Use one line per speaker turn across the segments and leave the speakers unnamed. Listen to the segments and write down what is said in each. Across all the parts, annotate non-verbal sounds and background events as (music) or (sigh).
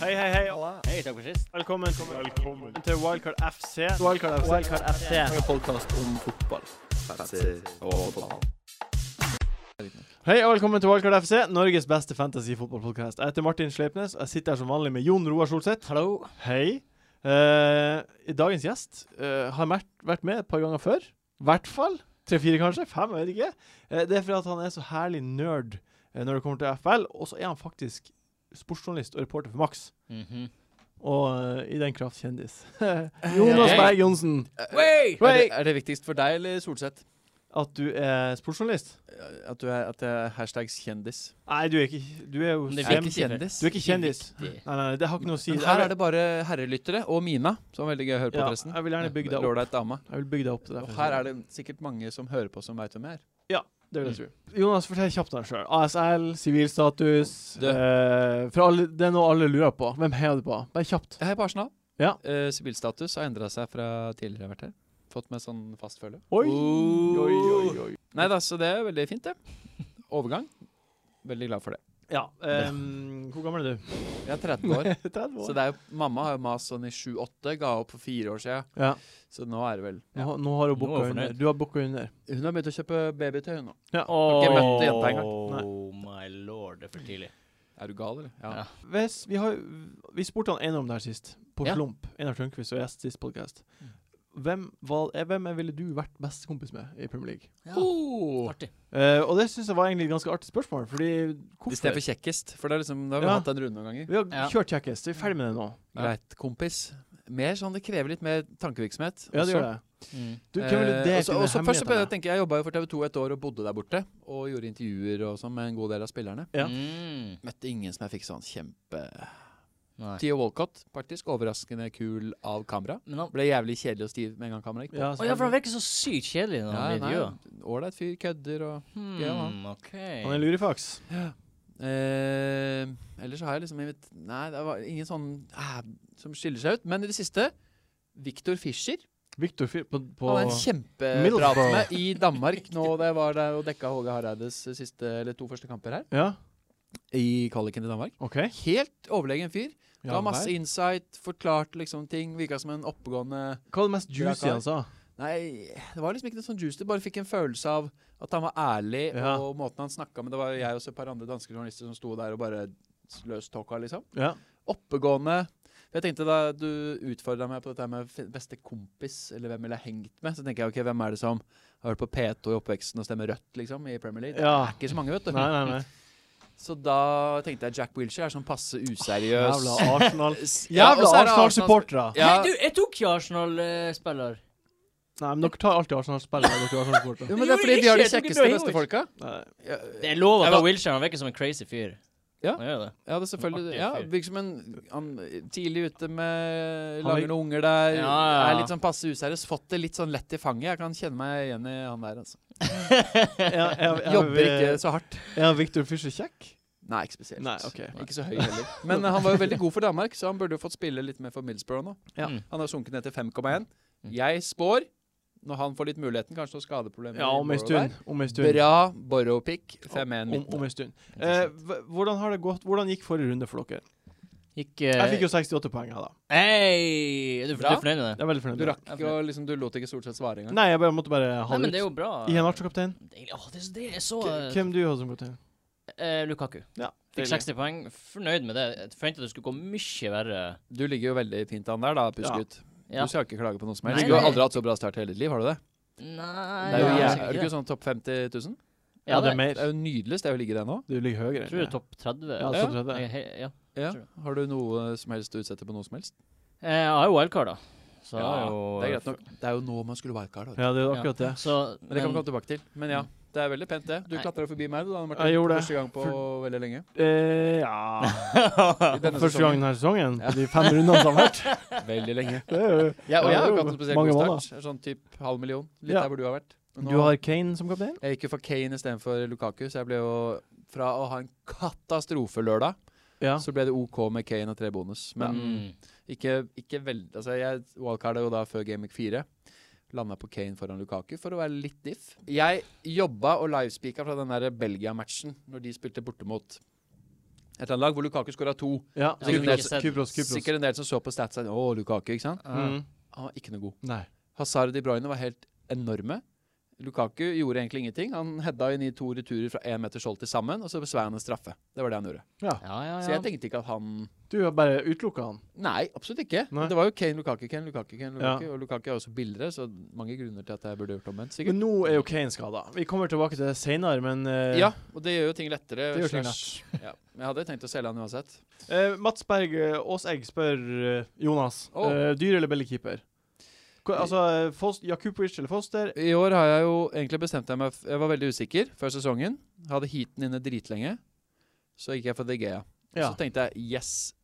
Hei, hei, hei.
Hei, takk for sist.
Velkommen, til Wildcard FC.
Wildcard FC.
Wildcard FC.
En podkast om fotball.
Hei og velkommen til Wildcard FC, Norges beste fantasy-fotballpodkast. Jeg heter Martin Sleipnes, og jeg sitter her som vanlig med Jon Roar Solseth.
Hallo.
Hei. Eh, dagens gjest eh, har vært, vært med et par ganger før. I hvert fall. Tre-fire, kanskje. Fem, jeg vet ikke. Eh, det er fordi at han er så herlig nerd eh, når det kommer til FL, og så er han faktisk sportsjournalist og reporter for Max. Og eh, i den kraft kjendis. (laughs) Jonas
Hei.
Berg Johnsen,
Wait! Eh, Er, det,
Wait!
er det viktigst for deg eller Solseth?
at du er sportsjournalist?
Eh, At du er, at det er hashtags kjendis?
Nei, du er ikke Du er jo
Men det
Jeg er
sem...
ikke kjendis.
Du er ikke kjendis.
viktig.
Nei, nei, det har ikke noe å si.
Men her er det bare herrelyttere og Mina, som er veldig gøy å høre på
ja,
forresten.
Jeg vil gjerne bygge deg opp.
Lordaug dame.
Jeg vil bygge deg opp til
Og
det.
her er det sikkert mange som hører på, som veit hvem jeg er.
Det vil jeg
Mm.
tro. Jonas, fortell kjapt om deg sjøl. ASL, sivilstatus
Du.
eh, for alle, Det er noe alle lurer på. Hvem heier du på? Bare kjapt.
Jeg er på Arsenal.
Ja.
Eh, Sivilstatus har endra seg fra tidligere jeg har vært her. Fått meg sånn fast følge.
Oi!
Oh.
Oi, oi, oi.
Nei da, så det er veldig fint, det. Overgang. Veldig glad for det.
Ja. ehm, hvor gammel er du?
Jeg er 30
(laughs)
(laughs) år.
30
Så det er jo, mamma har jo mast sånn i 7-8, ga opp for fire år siden.
Ja.
Så nå er det vel
Nå, nå har hun
Nå er
booka
hun
under.
fornøyd.
Du har booka under.
Hun har begynt å kjøpe babytøy nå.
Ja.
Ikke møtt jenta engang.
Oh my lord, det er for tidlig.
Er du gal, eller?
Ja.
Hvis, vi, har, vi spurte han Einar om det her sist, på
Ja. Mm.
Slump. Einar Tørnquist og gjest sist podkast. Hvem, val- eh, hvem ville du vært bestekompis med i Premier League?
Oh!
Artig.
Eh, og det syns jeg var egentlig et ganske artig spørsmål, fordi
I stedet
hvorfor?
for kjekkest. For det er liksom, da har vi
Ja.
hatt en runde noen ganger.
Vi har
Ja.
kjørt kjekkest, vi er ferdig med det nå.
Greit, kompis. Mer sånn, Det krever litt mer tankevirksomhet.
Ja, det gjør det. Du, hvem ville
Eh,
delt
også-
dine
også først så
hemmeligheter
ble
med?
Jeg tenker, jeg jobba jo for TV 2 et år og bodde der borte. Og gjorde intervjuer og sånn med en god del av spillerne.
Ja.
Mm.
Møtte ingen som jeg fikk sånn kjempe
Nei.
Theo Walcott, faktisk. Overraskende kul av kamera.
Men han
Ble jævlig kjedelig og stiv med en gang kameraet gikk på.
Ja,
Å ja, for han virker så sykt kjedelig når han
Ja,
blir intervjua.
nei, Ålreit fyr, kødder og Ja,
Hmm,
han.
OK.
Han er en lurifaks.
Eh, ellers så har jeg liksom invit- Nei, det var ingen sånn eh, som skiller seg ut. Men i det siste Victor Fischer.
Victor Fyr på, på
Han er en kjempeprat
Middlesbrough.
med i Danmark nå da jeg var der og dekka HG Hareides siste, eller to første kamper her.
Ja,
I kvaliken til Danmark.
OK.
Helt overlegen fyr.
Ja,
Ga masse
vel.
insight, forklarte liksom ting. Virka som en oppegående
Hva var det mest juicy
Bra kar.
han sa?
Nei, det var liksom ikke noe sånn juice. Du bare fikk en følelse av at han var ærlig,
Ja.
og måten han snakka med Det var jo jeg og så et par andre danske journalister som sto der og bare løstalka, liksom.
Ja.
oppegående. For Jeg tenkte da du utfordra meg på dette her med f- beste kompis, eller hvem ville jeg hengt med, så tenker jeg ok, hvem er det som har vært på P2 i oppveksten og stemmer rødt, liksom, i Premier League?
ja.
Det er ikke så mange, vet du.
Nei, nei,
(laughs)
nei.
Så da tenkte jeg Jack Wilshere er sånn passe useriøs.
Jævla Arsenal.
S- ja, og
Jævla
så er det
Arsenal-supportere!
Ja.
Hei, du, jeg tok ikke Arsenal-spiller.
Nei, men dere tar alltid Arsenal-spillere. Dere er Arsenal-supportere.
Jo, men det er fordi vi har de
Jeg tok ikke
kjekkeste
noe
beste
imot.
folka.
Nei.
Ja,
Det er lov å
Jeg
ta
var-
Wilshere. Han virker som en crazy fyr.
Ja.
Han gjør det.
ja, det er selvfølgelig
Artig
ja,
fyr.
Virker som en han, tidlig ute
Han er-
med Lager noen unger der.
Ja, ja, ja.
Er litt sånn passe useriøs. Fått det litt sånn lett i fanget. Jeg kan kjenne meg igjen i han der, altså.
Er- er- er-
Jobber ikke så hardt.
Er han Victor Fischer kjekk?
Nei, ikke spesielt.
Nei, ok.
Ikke så høy heller. (laughs) Men eh, han var jo veldig god for Danmark, så han burde jo fått spille litt mer for Middlesbrough nå.
Ja.
Mm.
Han har sunket ned til 5,1.
Mm.
Jeg spår, når han får litt muligheten, kanskje noen skadeproblemer
Ja,
i
om ei
Borough
stund.
der.
Om ei stund.
Bra Borough-pick.
Om,
5-1
om
midten.
en stund. Eh, hv- hvordan har det gått? Hvordan gikk forrige runde for dere?
Gikk eh,
Jeg fikk jo 68 poeng her, da.
Hei! Er du, du
Bra.
er fornøyd med det?
Jeg er veldig fornøyd.
Du
med det.
rakk ikke å liksom, du lot ikke stort sett svare engang.
Nei, jeg bare måtte bare ha
Nei, men
det
det er jo
ut.
bra.
Igjen Archer-kaptein.
Deilig. Åh, det er så deilig. Jeg så
Hvem du har som kaptein?
eh, Lukaku.
Ja,
Fikk
deilig.
60 poeng. Fornøyd med det. Jeg forventa det skulle gå mye verre.
Du ligger jo veldig fint an der, da, puskegutt.
Ja.
Du skal ikke klage på noe som
Nei,
helst. Du har
nei.
aldri hatt så bra start i hele ditt liv, har du det?
Nei
Det er jo
Nei,
sikkert
jæ- er du
ikke
ikke sånn topp 50 000?
Ja, det,
Det er jo nydelig sted å ligge det nå.
Du ligger høyere.
jeg tror det er topp 30.
Ja,
eller?
topp 30.
Jeg, he- ja.
Ja.
Tror
Har du noe som helst å utsette på noe som helst?
Eh, Jeg har jo wildcard, da. Så jeg har jo
det er greit nok. Det er jo nå man skulle wildcarda.
Ja, det er akkurat det.
Så,
Men det kan vi
men-
komme tilbake til. Men ja, det er veldig pent, det. Du
Nei.
klatra forbi meg, du, da, Martin.
Jeg gjorde
Første gang på veldig lenge.
Eh,
(laughs)
ja
I denne
Første gang
sesongen.
denne sesongen,
Ja.
på de fem rundene som har vært.
(laughs)
Veldig lenge.
Det er jo-
Ja,
Ja,
og jeg har
det er
jo ikke
jo
hatt en spesielt
mange
god
mål,
start. Sånn typ halv million. Litt
Ja.
der hvor du har vært. Nå-
Du har Kane som kaptein?
Jeg gikk jo for Kane istedenfor Lukaku, så jeg ble jo Fra å ha en katastrofe lørdag,
Ja.
så ble det OK med Kane og tre bonus. Men
Mm.
ikke, ikke veldig Altså, jeg wildcarda jo da før Game Week 4. Landa på Kane foran Lukaku for å være litt diff. Jeg jobba og livespeaka fra den der Belgia-matchen når de spilte borte mot et eller annet lag hvor Lukaku skåra to.
Ja,
Ja,
men
Kypros,
ikke sett.
Kypros, Kypros.
Sikkert en del som så på statsen. Å, Lukaku, ikke sant?
Mm.
Han var ikke noe god.
Nei.
Hazard og De Bruyne var helt enorme. Lukaku gjorde egentlig ingenting. Han heada inn i to returer fra én meters hold til sammen, og så besvei han en straffe. Det var det han gjorde.
Ja, ja,
Så
ja.
jeg tenkte ikke at han
Du har bare utelukka han.
Nei, absolutt ikke.
Nei.
Det var jo Kane, Lukaku, Kane, Lukaku, Kane, Lukaku. Og Lukaku er også billigere, så mange grunner til at jeg burde gjort omvendt. sikkert.
Men nå er jo Kane skada. Vi kommer tilbake til det seinere, men eh,
Ja, og det gjør jo ting lettere.
Det gjør ting
slash- ja. Men Jeg hadde tenkt å selge han uansett.
eh, Mats Berg eh, Aasegg spør eh, Jonas.
Å.
eh, dyr eller bellekeeper? Hva- Altså eh, Fos- Jakubovic eller Foster?
I år har jeg jo egentlig bestemt meg f- Jeg var veldig usikker før sesongen. Hadde heaten inne dritlenge. Så gikk jeg for De Gea. Og
Ja.
Så tenkte jeg yes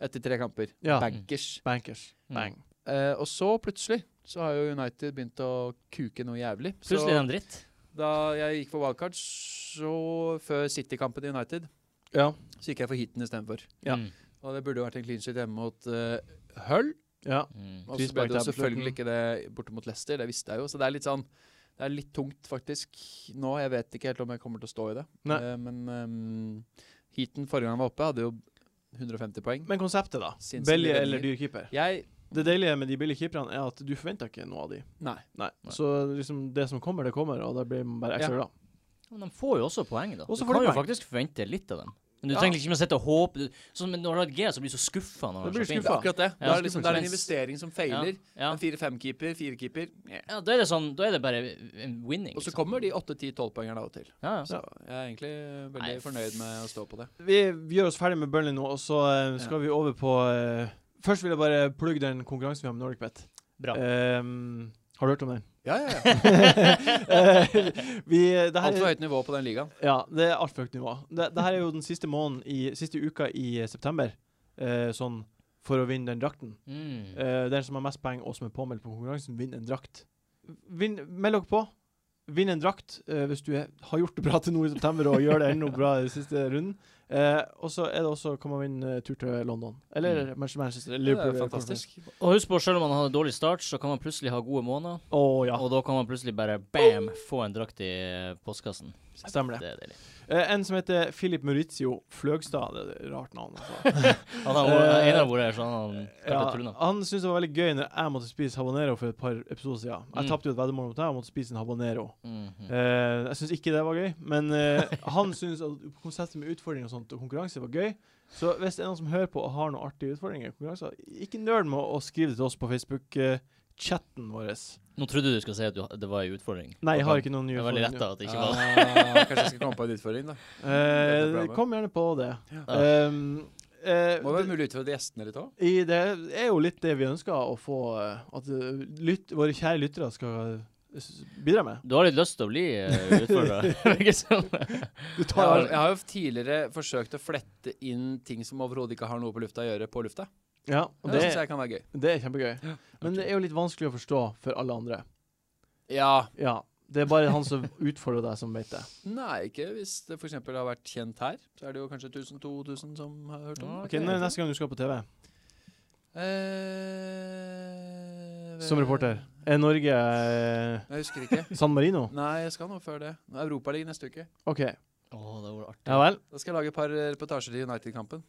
etter tre kamper.
Ja.
Bankers.
Bankers.
Mm.
Bang.
Eh, og så plutselig så har jo United begynt å kuke noe jævlig. Så
Plutselig er han dritt.
da jeg gikk for wildcard, så før City-kampen til United,
Ja.
så gikk jeg for heaten istedenfor.
Ja.
Mm.
Og det burde jo vært en clean sheet hjemme mot eh, Hull.
ja.
Mm.
Og så ble
Frispark
det jo
der på
selvfølgelig
slutten.
ikke det borte mot Leicester, det visste jeg jo. Så det er litt sånn Det er litt tungt, faktisk, nå. Jeg vet ikke helt om jeg kommer til å stå i det.
Nei.
Eh, men ehm, heaten forrige gang jeg var oppe, hadde jo 150 poeng.
Men konseptet, da?
Sinnssykt
Belly
mye
eller
redninger.
dyr keeper?
Jeg
Det deilige med de billige keeperne er at du forventer ikke noe av de.
Nei.
Nei.
Nei.
Så liksom det som kommer, det kommer, og da blir man bare ekstra
Ja.
glad.
Men de får jo også poeng, da.
Og så
Du
får de
kan jo
poeng.
faktisk forvente litt av dem. Men du
Ja.
trenger liksom ikke å sitte og håpe du- Sånn men når du har et G, så blir du så skuffa når
Da blir du
slipper inn.
Det er akkurat
Ja.
det. det, er liksom, det er en investering som
Ja,
feiler.
ja.
En fire-fem-keeper, fire-keeper.
ja, da er det sånn Da er det bare en winning.
Og så
liksom.
kommer de åtte-ti-tolvpoengerne av og til.
ja, ja.
Så jeg er egentlig veldig
Nei,
fornøyd med å stå på det.
Vi, vi gjør oss ferdig med Burnley nå, og så eh, skal vi over på eh, Først vil jeg bare plugge den konkurransen vi har med NordicBet.
Bra.
Ehm, har du hørt om
(laughs)
den? (laughs)
Ja, ja, ja.
Eh, vi, det her,
Altfor
er-
høyt nivå på den ligaen.
ja, det er altfor høyt nivå. Det, det her er jo den siste måneden i, siste uka i september, eh, sånn for å vinne den drakten.
Mm.
Eh, den som har mest poeng og som er påmeldt på konkurransen, vinner en drakt. Vinn, meld dere på. Vinn en drakt eh, hvis du er, har gjort det bra til nå i september og gjør det enda bra i den siste runden. Eh, og så er det også kan man vinne eh, tur til London. Eller Manchester- Manchester. eller
Det
Liverpool.
er
eller
fantastisk.
Og husk på, selv om man hadde dårlig start, så kan man plutselig ha gode måneder.
hvor man- Å ja,
Og da kan man plutselig bare bam, få en drakt i postkassen.
stemmer det.
Det er deilig.
Eh, en som heter Philip Maurizio Fløgstad. Det er et rart navn.
(laughs)
Altså.
Han har vært- en av våre her, så han har kanskje
Eh, Ja,
trynet.
han syntes det var veldig gøy når jeg måtte spise habanero for et par episoder siden. Jeg
Mm.
tapte jo et veddemål mot deg og måtte spise en habanero.
Mhm.
Eh, jeg syns ikke det var gøy, men eh, han syns at konseptet med utfordringer og sånt og konkurranse var gøy. Så hvis det er noen som hører på og har noen artige utfordringer, og konkurranser, ikke nøl med å skrive det til oss på Facebook-chatten vår.
Nå trodde du skulle si at du, ha- det var en utfordring.
Nei, jeg har ikke noen nye
Det var veldig lett
utfordringer.
da, at det ikke var det.
Ah, kanskje jeg skal komme på en utfordring, da. Det er bra,
Eh,
men.
kom gjerne på det.
Ja.
Um, eh,
Må være mulig å utfordre gjestene litt òg.
i det er jo litt det vi ønsker å få eh, at eh, lytt, våre kjære lyttere skal eh, s- bidra med.
Du har litt lyst til å bli uh, (laughs) utfordra, virker som.
Du
Jeg, har-
tar
jeg har jo tidligere forsøkt å flette inn ting som overhodet ikke har noe på lufta å gjøre, på lufta.
Ja, og
Og
det,
det syns jeg kan være gøy.
det er kjempegøy. Men det er jo litt vanskelig å forstå for alle andre.
Ja.
Ja. Det er bare han som utfordrer deg, som vet det.
Nei, ikke hvis det f.eks. har vært kjent her. Så er det jo kanskje 1000-2000 som har hørt om
Ja,
Ah, Ok, nå er det Neste gang du skal på TV
Eh,
som reporter, er Norge eh,
Jeg husker ikke.
San Marino?
Nei, jeg skal noe før det. Europaligaen neste uke.
OK.
Å, det var artig.
Ja vel.
Da skal jeg lage et par eh, reportasjer til United-kampen.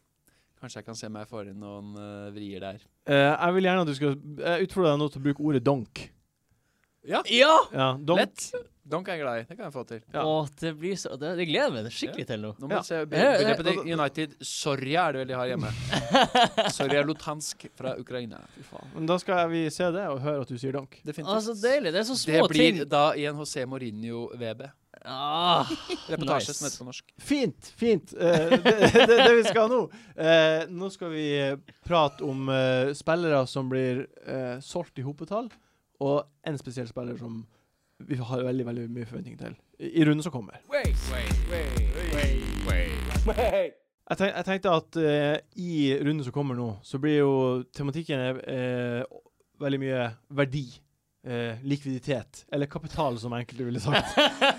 Kanskje jeg kan se meg får inn noen eh, vrier der.
Eh, jeg vil gjerne at du skal Jeg utfordrer deg nå til å bruke ordet donk.
Ja,
Ja!
Ja, donk.
lett! Donk er jeg glad i. Det kan jeg få til.
Ja.
Å, det blir så Det, det gleder jeg meg skikkelig til nå.
Nå må
Ja. Altså-
du se be-
Eh, eh,
begrepet
og
til United. Sorja er det vel de har hjemme.
(laughs)
Sorja Lutansk fra Ukraina. Fy faen.
Men da skal vi se det og høre at du sier donk.
Definitivt.
Altså, deilig. Det er så
det
små
blir
ting.
da i en José Mourinho-VB.
Ah, (laughs)
Reportasje
Nice.
som heter på norsk.
Fint, fint. Eh, det, det, det vi skal nå eh, Nå skal vi eh, prate om eh, spillere som blir eh, solgt i hopetall, og en spesiell spiller som vi har veldig veldig mye forventning til i, i runden som kommer. Jeg, tenk, jeg tenkte at eh, i runden som kommer nå, så blir jo tematikken eh, veldig mye verdi. eh, likviditet, eller kapital, som enkelte ville sagt.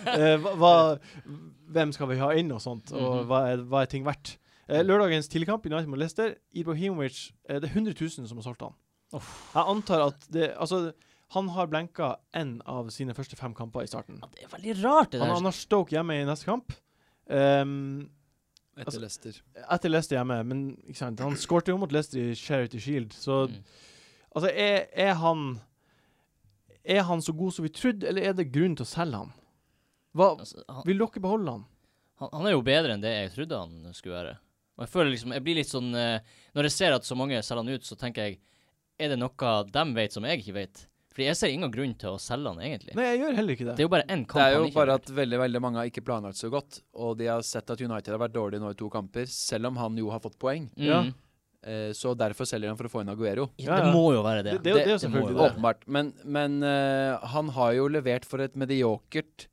Eh, hva, hva, hvem skal vi ha inn, og sånt. Og
Mhm.
hva er, hva er ting verdt? Eh, lørdagens tidligkamp i United mot Leicester, Ibrahimovic eh, Det er 100 000 som har solgt han. Jeg antar at det Altså, han har blenka én av sine første fem kamper i starten.
det er veldig rart, det
Han,
der.
han har Stoke hjemme i neste kamp. Ehm,
Etter
Altså-
Leicester.
Etter Leicester hjemme, men ikke sant? han skårte jo mot Leicester i Charity Shield, så
Mm.
Altså, er, er han Er han så god som vi trodde, eller er det grunn til å selge han? Hva,
Altså, han,
vil dere beholde han?
han, han er jo bedre enn det jeg trodde han skulle være. Og jeg føler liksom, jeg blir litt sånn eh, Når jeg ser at så mange selger han ut, så tenker jeg Er det noe de vet som jeg ikke vet? Fordi jeg ser ingen grunn til å selge han, egentlig.
Nei, jeg gjør heller ikke
Det
det.
er jo bare én kamp
Det er jo
han ikke
bare
har
at veldig veldig mange har ikke planlagt så godt. Og de har sett at United har vært dårlig nå i to kamper, selv om han jo har fått poeng.
vært.
ja.
Mm.
Eh, så derfor selger han for å få inn Aguero.
Ja,
Ja,
ja.
det må jo være det.
Det- det er jo- det er jo
må
selvfølgelig
være
det.
Åpenbart. Men, men eh, han har jo levert for et mediokert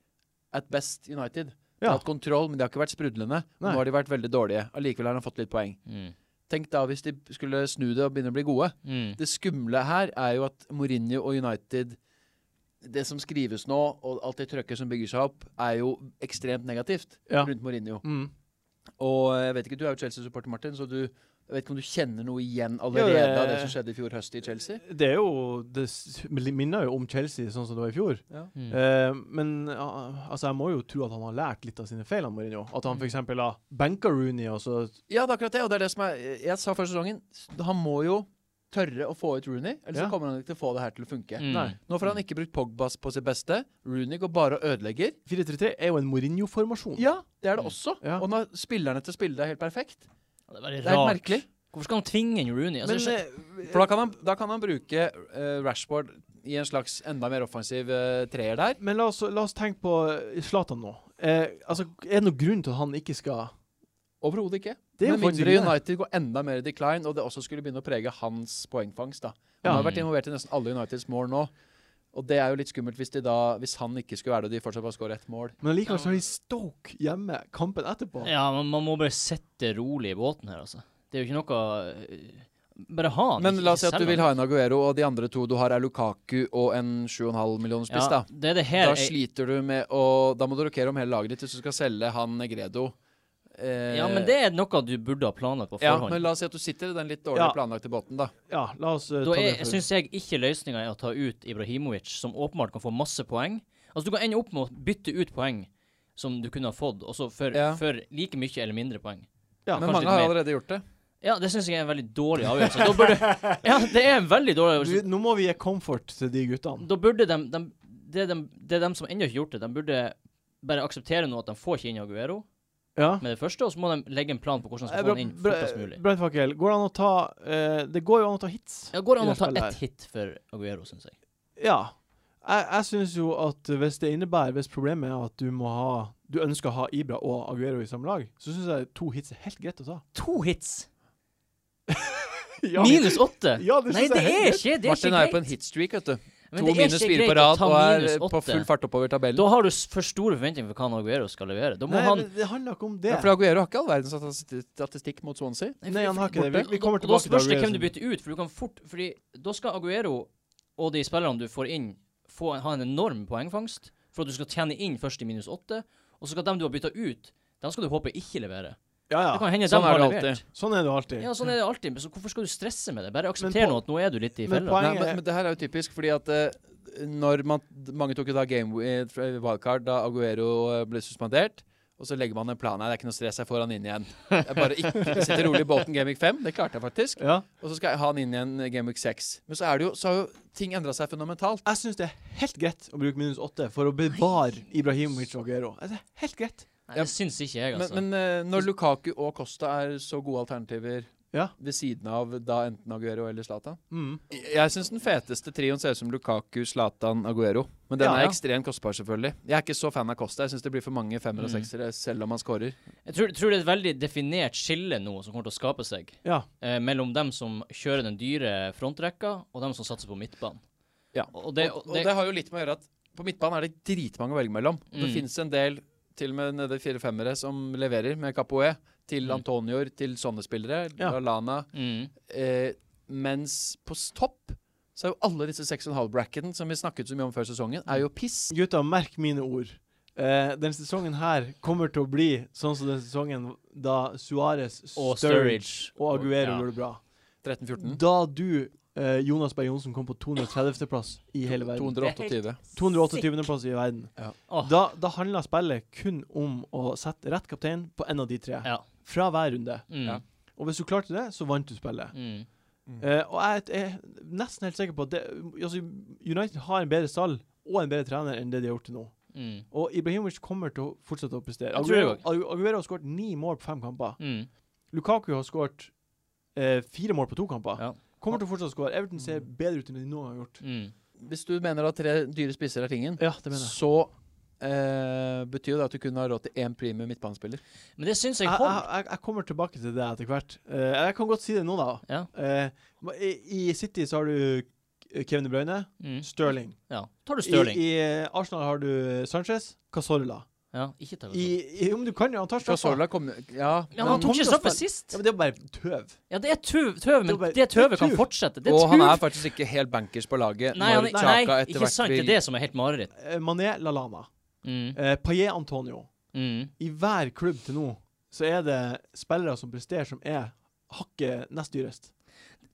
at best United. De
Ja.
har hatt kontroll, men de har ikke vært sprudlende.
Nei.
Nå har de vært veldig dårlige. Allikevel har han fått litt poeng.
Mm.
Tenk da hvis de skulle snu det og begynne å bli gode.
Mm.
Det skumle her er jo at Mourinho og United Det som skrives nå, og alt det trøkket som bygger seg opp, er jo ekstremt negativt
Ja.
rundt Mourinho.
Mm.
Og jeg vet ikke, du er jo Chelsea-supporter, Martin, så du jeg vet ikke om du kjenner noe igjen
Jo,
allerede
det-
av det som skjedde i fjor høst i Chelsea?
Det er jo Det s- minner jo om Chelsea, sånn som det var i fjor.
Mm.
Eh, men ah, altså, jeg må jo tro at han har lært litt av sine feil, han Mourinho. At
Mm.
han f.eks. har benka Rooney, altså, og så
Ja, det er akkurat det. Og det er det som er Jeg sa før sesongen, han må jo tørre å få ut Rooney, ellers
Ja.
så kommer han ikke til å få det her til å funke.
Mm.
Nei.
Nå får han ikke brukt Pogbas på sitt beste. Rooney går bare og ødelegger.
4-3-3 er jo en Mourinho-formasjon.
Ja, det er det
Mm.
også.
Ja.
Og når spillerne til spillet er helt perfekt.
Ja, Det er veldig
Det er helt
rart.
merkelig.
Hvorfor skal han tvinge inn Rooney? Altså,
Men
jeg skjønner-
eh,
For da kan han, da kan han bruke eh, Rashford i en slags enda mer offensiv eh, treer der.
Men la oss, la oss tenke på eh, Zlatan nå. Eh, altså, er det noen grunn til at han ikke skal
Overhodet ikke.
Det er jo
Med
faktisk ikke
mindre
det.
United går enda mer i decline, og det også skulle begynne å prege hans poengfangst. da. Han
Ja.
har vært involvert i nesten alle Uniteds mål nå. Og det er jo litt skummelt hvis, de da, hvis han ikke skulle være det, og de fortsatt bare skårer ett mål.
Men allikevel så har de Stoke hjemme kampen etterpå.
eh,
ja, man, man må bare sitte rolig i båten her, altså. Det er jo ikke noe øh, Bare ha han.
Men
ikke-
la oss si
ikke
at du
selg
vil
han.
ha en Aguero, og de andre to du har, er Lukaku og en 7,5 millioner spiss,
Ja,
da.
det er det her
Da
jeg-
sliter du med å Da må du rokere om hele laget ditt hvis du skal selge han Negredo. Eh,
Ja, men det er noe du burde ha planlagt på
ja,
forhånd.
men la oss si at du sitter i den litt dårlig
Ja.
planlagte båten, da.
Ja, la oss eh,
da
ta
er,
det først.
syns jeg ikke løsninga er å ta ut Ibrahimovic, som åpenbart kan få masse poeng. Altså, du kan ende opp med å bytte ut poeng som du kunne ha fått, og så for,
Ja.
for like mye eller mindre poeng.
Ja,
men
kanskje litt
mange har
mer.
allerede gjort det.
Ja, det syns jeg er en veldig dårlig avgjørelse. Da burde, ja, det er en veldig dårlig
Du,
avgjørelse.
nå må vi gi comfort til de guttene.
Da burde de, dem- det, er dem- det er dem som ennå ikke har gjort det, de burde bare akseptere nå at de får ikke inn Aguero
Ja.
med det første, og så må de legge en plan på hvordan de
Eh,
skal
Bra-
få han inn fortest
Bra-
mulig.
Brannfakkel, går det an å ta eh, Det går jo an å ta hits.
Ja, går det an
i
å
det
ta
spillet
ett hit for Aguero, syns jeg.
Ja. Jeg, jeg syns jo at hvis det innebærer Hvis problemet er at du må ha Du ønsker å ha Ibra og Aguero i samme lag, så syns jeg to hits er helt greit å ta.
To hits!
(laughs) Ja.
Minus åtte!
Ja, det
Nei,
synes jeg er
det er
helt
ikke det er
Martin
ikke
er jo på
greit.
en hitstreak, vet du.
Men
To
det er
minus
ikke
fire på
greit å
rad,
ta
og er
minus
eh, på
åtte.
full fart oppover tabellen.
Da har du s- for store forventninger for hva han Aguero skal levere. Da må
Nei,
han
men det handler ikke om det.
Ja, for Aguero har ikke all verdens stati- statistikk mot Swansea.
Nei, han har ikke det. Vi, vi
Og
kommer
da
tilbake til
spørs det hvem du
Aguero sin-
bytter ut, for du kan fort Fordi da skal Aguero og de spillerne du får inn, få, ha en enorm poengfangst for at du skal tjene inn først i minus åtte, og så skal dem du har bytta ut, dem skal du håpe ikke levere.
Ja,
Det
ja.
kan hende
Sånn
dem
er
har
det
levert.
alltid.
Sånn er det jo alltid.
Ja, sånn er det alltid. Men så hvorfor skal du stresse med det? Bare aksepter
på-
nå at nå er du litt i
men
fella.
poenget-
Nei, men, men det her er jo typisk, fordi at eh, når man, mange tok jo da game eh, fra- wildcard da Aguero eh, ble suspendert, og så legger man en plan. Nei, det er ikke noe stress, jeg får han inn igjen. Jeg bare ikke jeg sitter rolig i Bolton Game Week 5, det klarte jeg faktisk.
Ja.
Og så skal jeg ha han inn igjen i eh, Game Week 6. Men så, er det jo, så har jo ting endra seg fundamentalt.
Jeg syns det er helt greit å bruke minus åtte for å bevare Ibrahimovic og Aguero. Det er helt greit.
Nei, det syns ikke jeg,
Men,
altså.
men eh, når Lukaku og Costa er så gode alternativer
Ja.
ved siden av da enten Aguero eller Zlatan
Mm.
Jeg syns den feteste trioen ser ut som Lukaku, Zlatan, Aguero. Men den
Ja, ja.
er ekstremt kostbar, selvfølgelig. Jeg er ikke så fan av Costa. Jeg syns det blir for mange femmer og
Mm.
seksere, selv om han scorer.
Jeg tror, tror det er et veldig definert skille nå som kommer til å skape seg
Ja.
eh, mellom dem som kjører den dyre frontrekka, og dem som satser på midtbanen.
Ja.
Og det,
og,
og
og det har jo litt med å gjøre at på midtbanen er det dritmange å velge mellom. Det
Mm.
finnes en del, til og med nede i fire femmere, som leverer med Capoe. Til
Mm.
Antonior, til sånne spillere.
Ja.
Lallana.
mm,
Eh, mens på s- topp så er jo alle disse 6,5-bracketen som vi snakket så mye om før sesongen, er jo piss.
Gutta, merk mine ord. Eh, denne sesongen her kommer til å bli sånn som den sesongen da Suárez,
og
Sturridge
Sturridge.
og Aguero
Ja. Mm.
gjorde det bra.
13-14.
Da du, eh, Jonas Berg Johnsen, kom på 230.-plass i hele verden.
228.
228.-plass i verden. Ah.
Ja.
Åh.
Da, da handla spillet kun om å sette rett kaptein på en av de tre.
Ja.
fra hver runde.
Mm.
Ja.
Og hvis du klarte det, så vant du spillet.
Mm.
Eh, og jeg er- er nesten helt sikker på at det, altså, United har en bedre stall og en bedre trener enn det de har gjort til nå.
Mm.
Og Ibrahimovic kommer til å fortsette å prestere.
Jeg tror det
Aguero, Agu- Aguero har skåret ni mål på fem kamper.
Mm.
Lukaku har skåret eh, fire mål på to kamper.
Ja.
Kommer til å fortsette å skåre. Everton ser bedre ut enn de noen gang har gjort.
Mm.
Hvis du mener at tre dyre spisser er tingen,
Ja, det mener jeg.
så eh, betyr jo det at du kun har råd til én premium midtbanespiller.
Men det syns jeg
Jeg, jeg,
holder.
jeg, jeg kommer tilbake til det etter hvert. Eh, jeg kan godt si det nå, da.
Ja.
Eh, men i, I City så har du K- Kevin De Bruyne,
Mm.
Stirling.
Ja. Tar du
I,
Stirling?
I eh, Arsenal har du Sanchez, Casorla.
Ja, ikke tar du Stirling.
I, i, om du kan jo, han tar straffa.
Casorla kom Ja.
Ja, men han tok
kommer til
ikke
å
straffe
spille-
sist.
Ja, men det er bare tøv.
Ja, det er tøv, tøv
Det
men
er bare-
det tøvet
det er
kan
tuv.
fortsette. Det er
og han er
tuv.
faktisk ikke helt bankers på laget
Nei, han,
når Chaka
nei,
etter
ikke
hvert
sant. Det er
vil
det som er helt mareritt.
Eh, Mané, Lalana.
Mm.
Eh, Paillet, Antonio.
Mm.
I hver klubb til nå så er det spillere som presterer, som er hakket nest dyrest.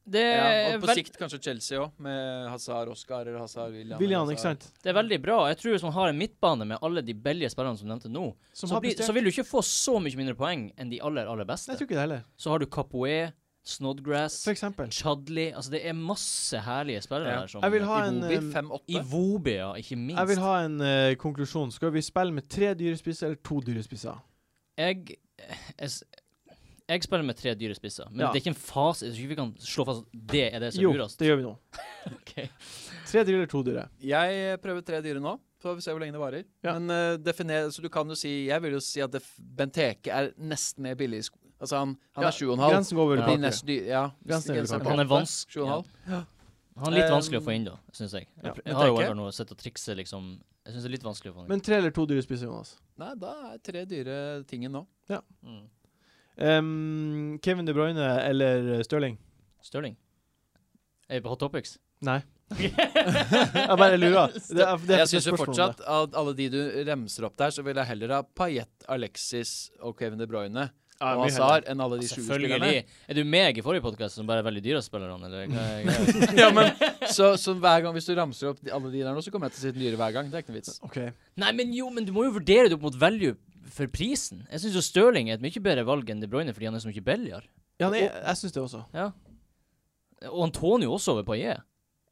Det,
ja,
er
Og på
Eh, vel-
sikt kanskje Chelsea òg, med Hazar Oscar eller Hazar William.
William,
eller
ikke sant?
det er veldig bra. Jeg tror Hvis man har en midtbane med alle de billige spillerne som nevnte nå,
Som
så,
har
blir,
prestert.
så vil du ikke få så mye mindre poeng enn de aller, aller
Nei,
beste.
jeg tror ikke det heller.
Så har du Capoe, Snodgrass,
For eksempel.
Chadli Altså, det er masse herlige spillere
Ja.
der som
Jeg vil ha en,
Hazard. Iwobi,
eh,
5-8.
Iwobi, ja, ikke minst.
Jeg vil ha en eh, konklusjon. Skal vi spille med tre dyrespisser eller to dyrespisser?
jeg, jeg, s- jeg spiller med tre dyre spisser, men
Ja.
det er ikke en fase Jeg tror ikke vi kan slå fast at det er det som
Jo,
lurer oss.
det gjør vi nå.
Ok.
Tre dyr eller to dyre?
Jeg eh, prøver tre dyre nå, så får vi se hvor lenge det varer.
Ja.
Men eh, definer, så du kan jo si Jeg vil jo si at def- Benteke er nesten ned billig. i sko- Altså, han, han
Ja,
er sju og en halv.
Grensen går vel
Ja.
bak.
Blir nesten dyr, ja.
Grensen er vel
Grensen
kanskje.
Han er
åtte,
vansk-
sju og
ja.
en halv.
Han er litt
Um,
vanskelig å få inn, da, syns jeg. Jeg,
Ehm, ja,
pr-
men
jeg har jo
tenker-
Everton og sett og trikset, liksom. Jeg syns det er litt vanskelig å få han inn.
Men tre eller to dyrespisser, Jonas?
Nei, da er tre dyre tingen nå.
Mm.
Ehm, Kevin De Bruyne eller eh, Stirling?
Stirling? Er vi på hot topics? (laughs)
Nei. jeg bare
(laughs)
lurer. Det er, det er
jeg syns jo
spørsmål om det.
fortsatt at alle de du remser opp der, så vil jeg heller ha Payet, Alexis og Kevin De Bruyne
Ja,
og
mye
Hazar enn alle de
(laughs)
sju spillerne.
Altså, Selvfølgelig. Er du meg i forrige podkast som bare er veldig dyr å spille han, eller? Hva er greia?
ja, men så, så hver gang Hvis du ramser opp de, alle de der nå, så kommer jeg til å si den dyre hver gang. Det er ikke noe vits.
OK.
Nei, men jo, men du må jo vurdere det opp mot value for prisen. Jeg syns jo Stirling er et mye bedre valg enn De Bruyne fordi han er så mye billigere.
Ja, nei, jeg syns det også.
Ja. Og Antonio også over Paillet.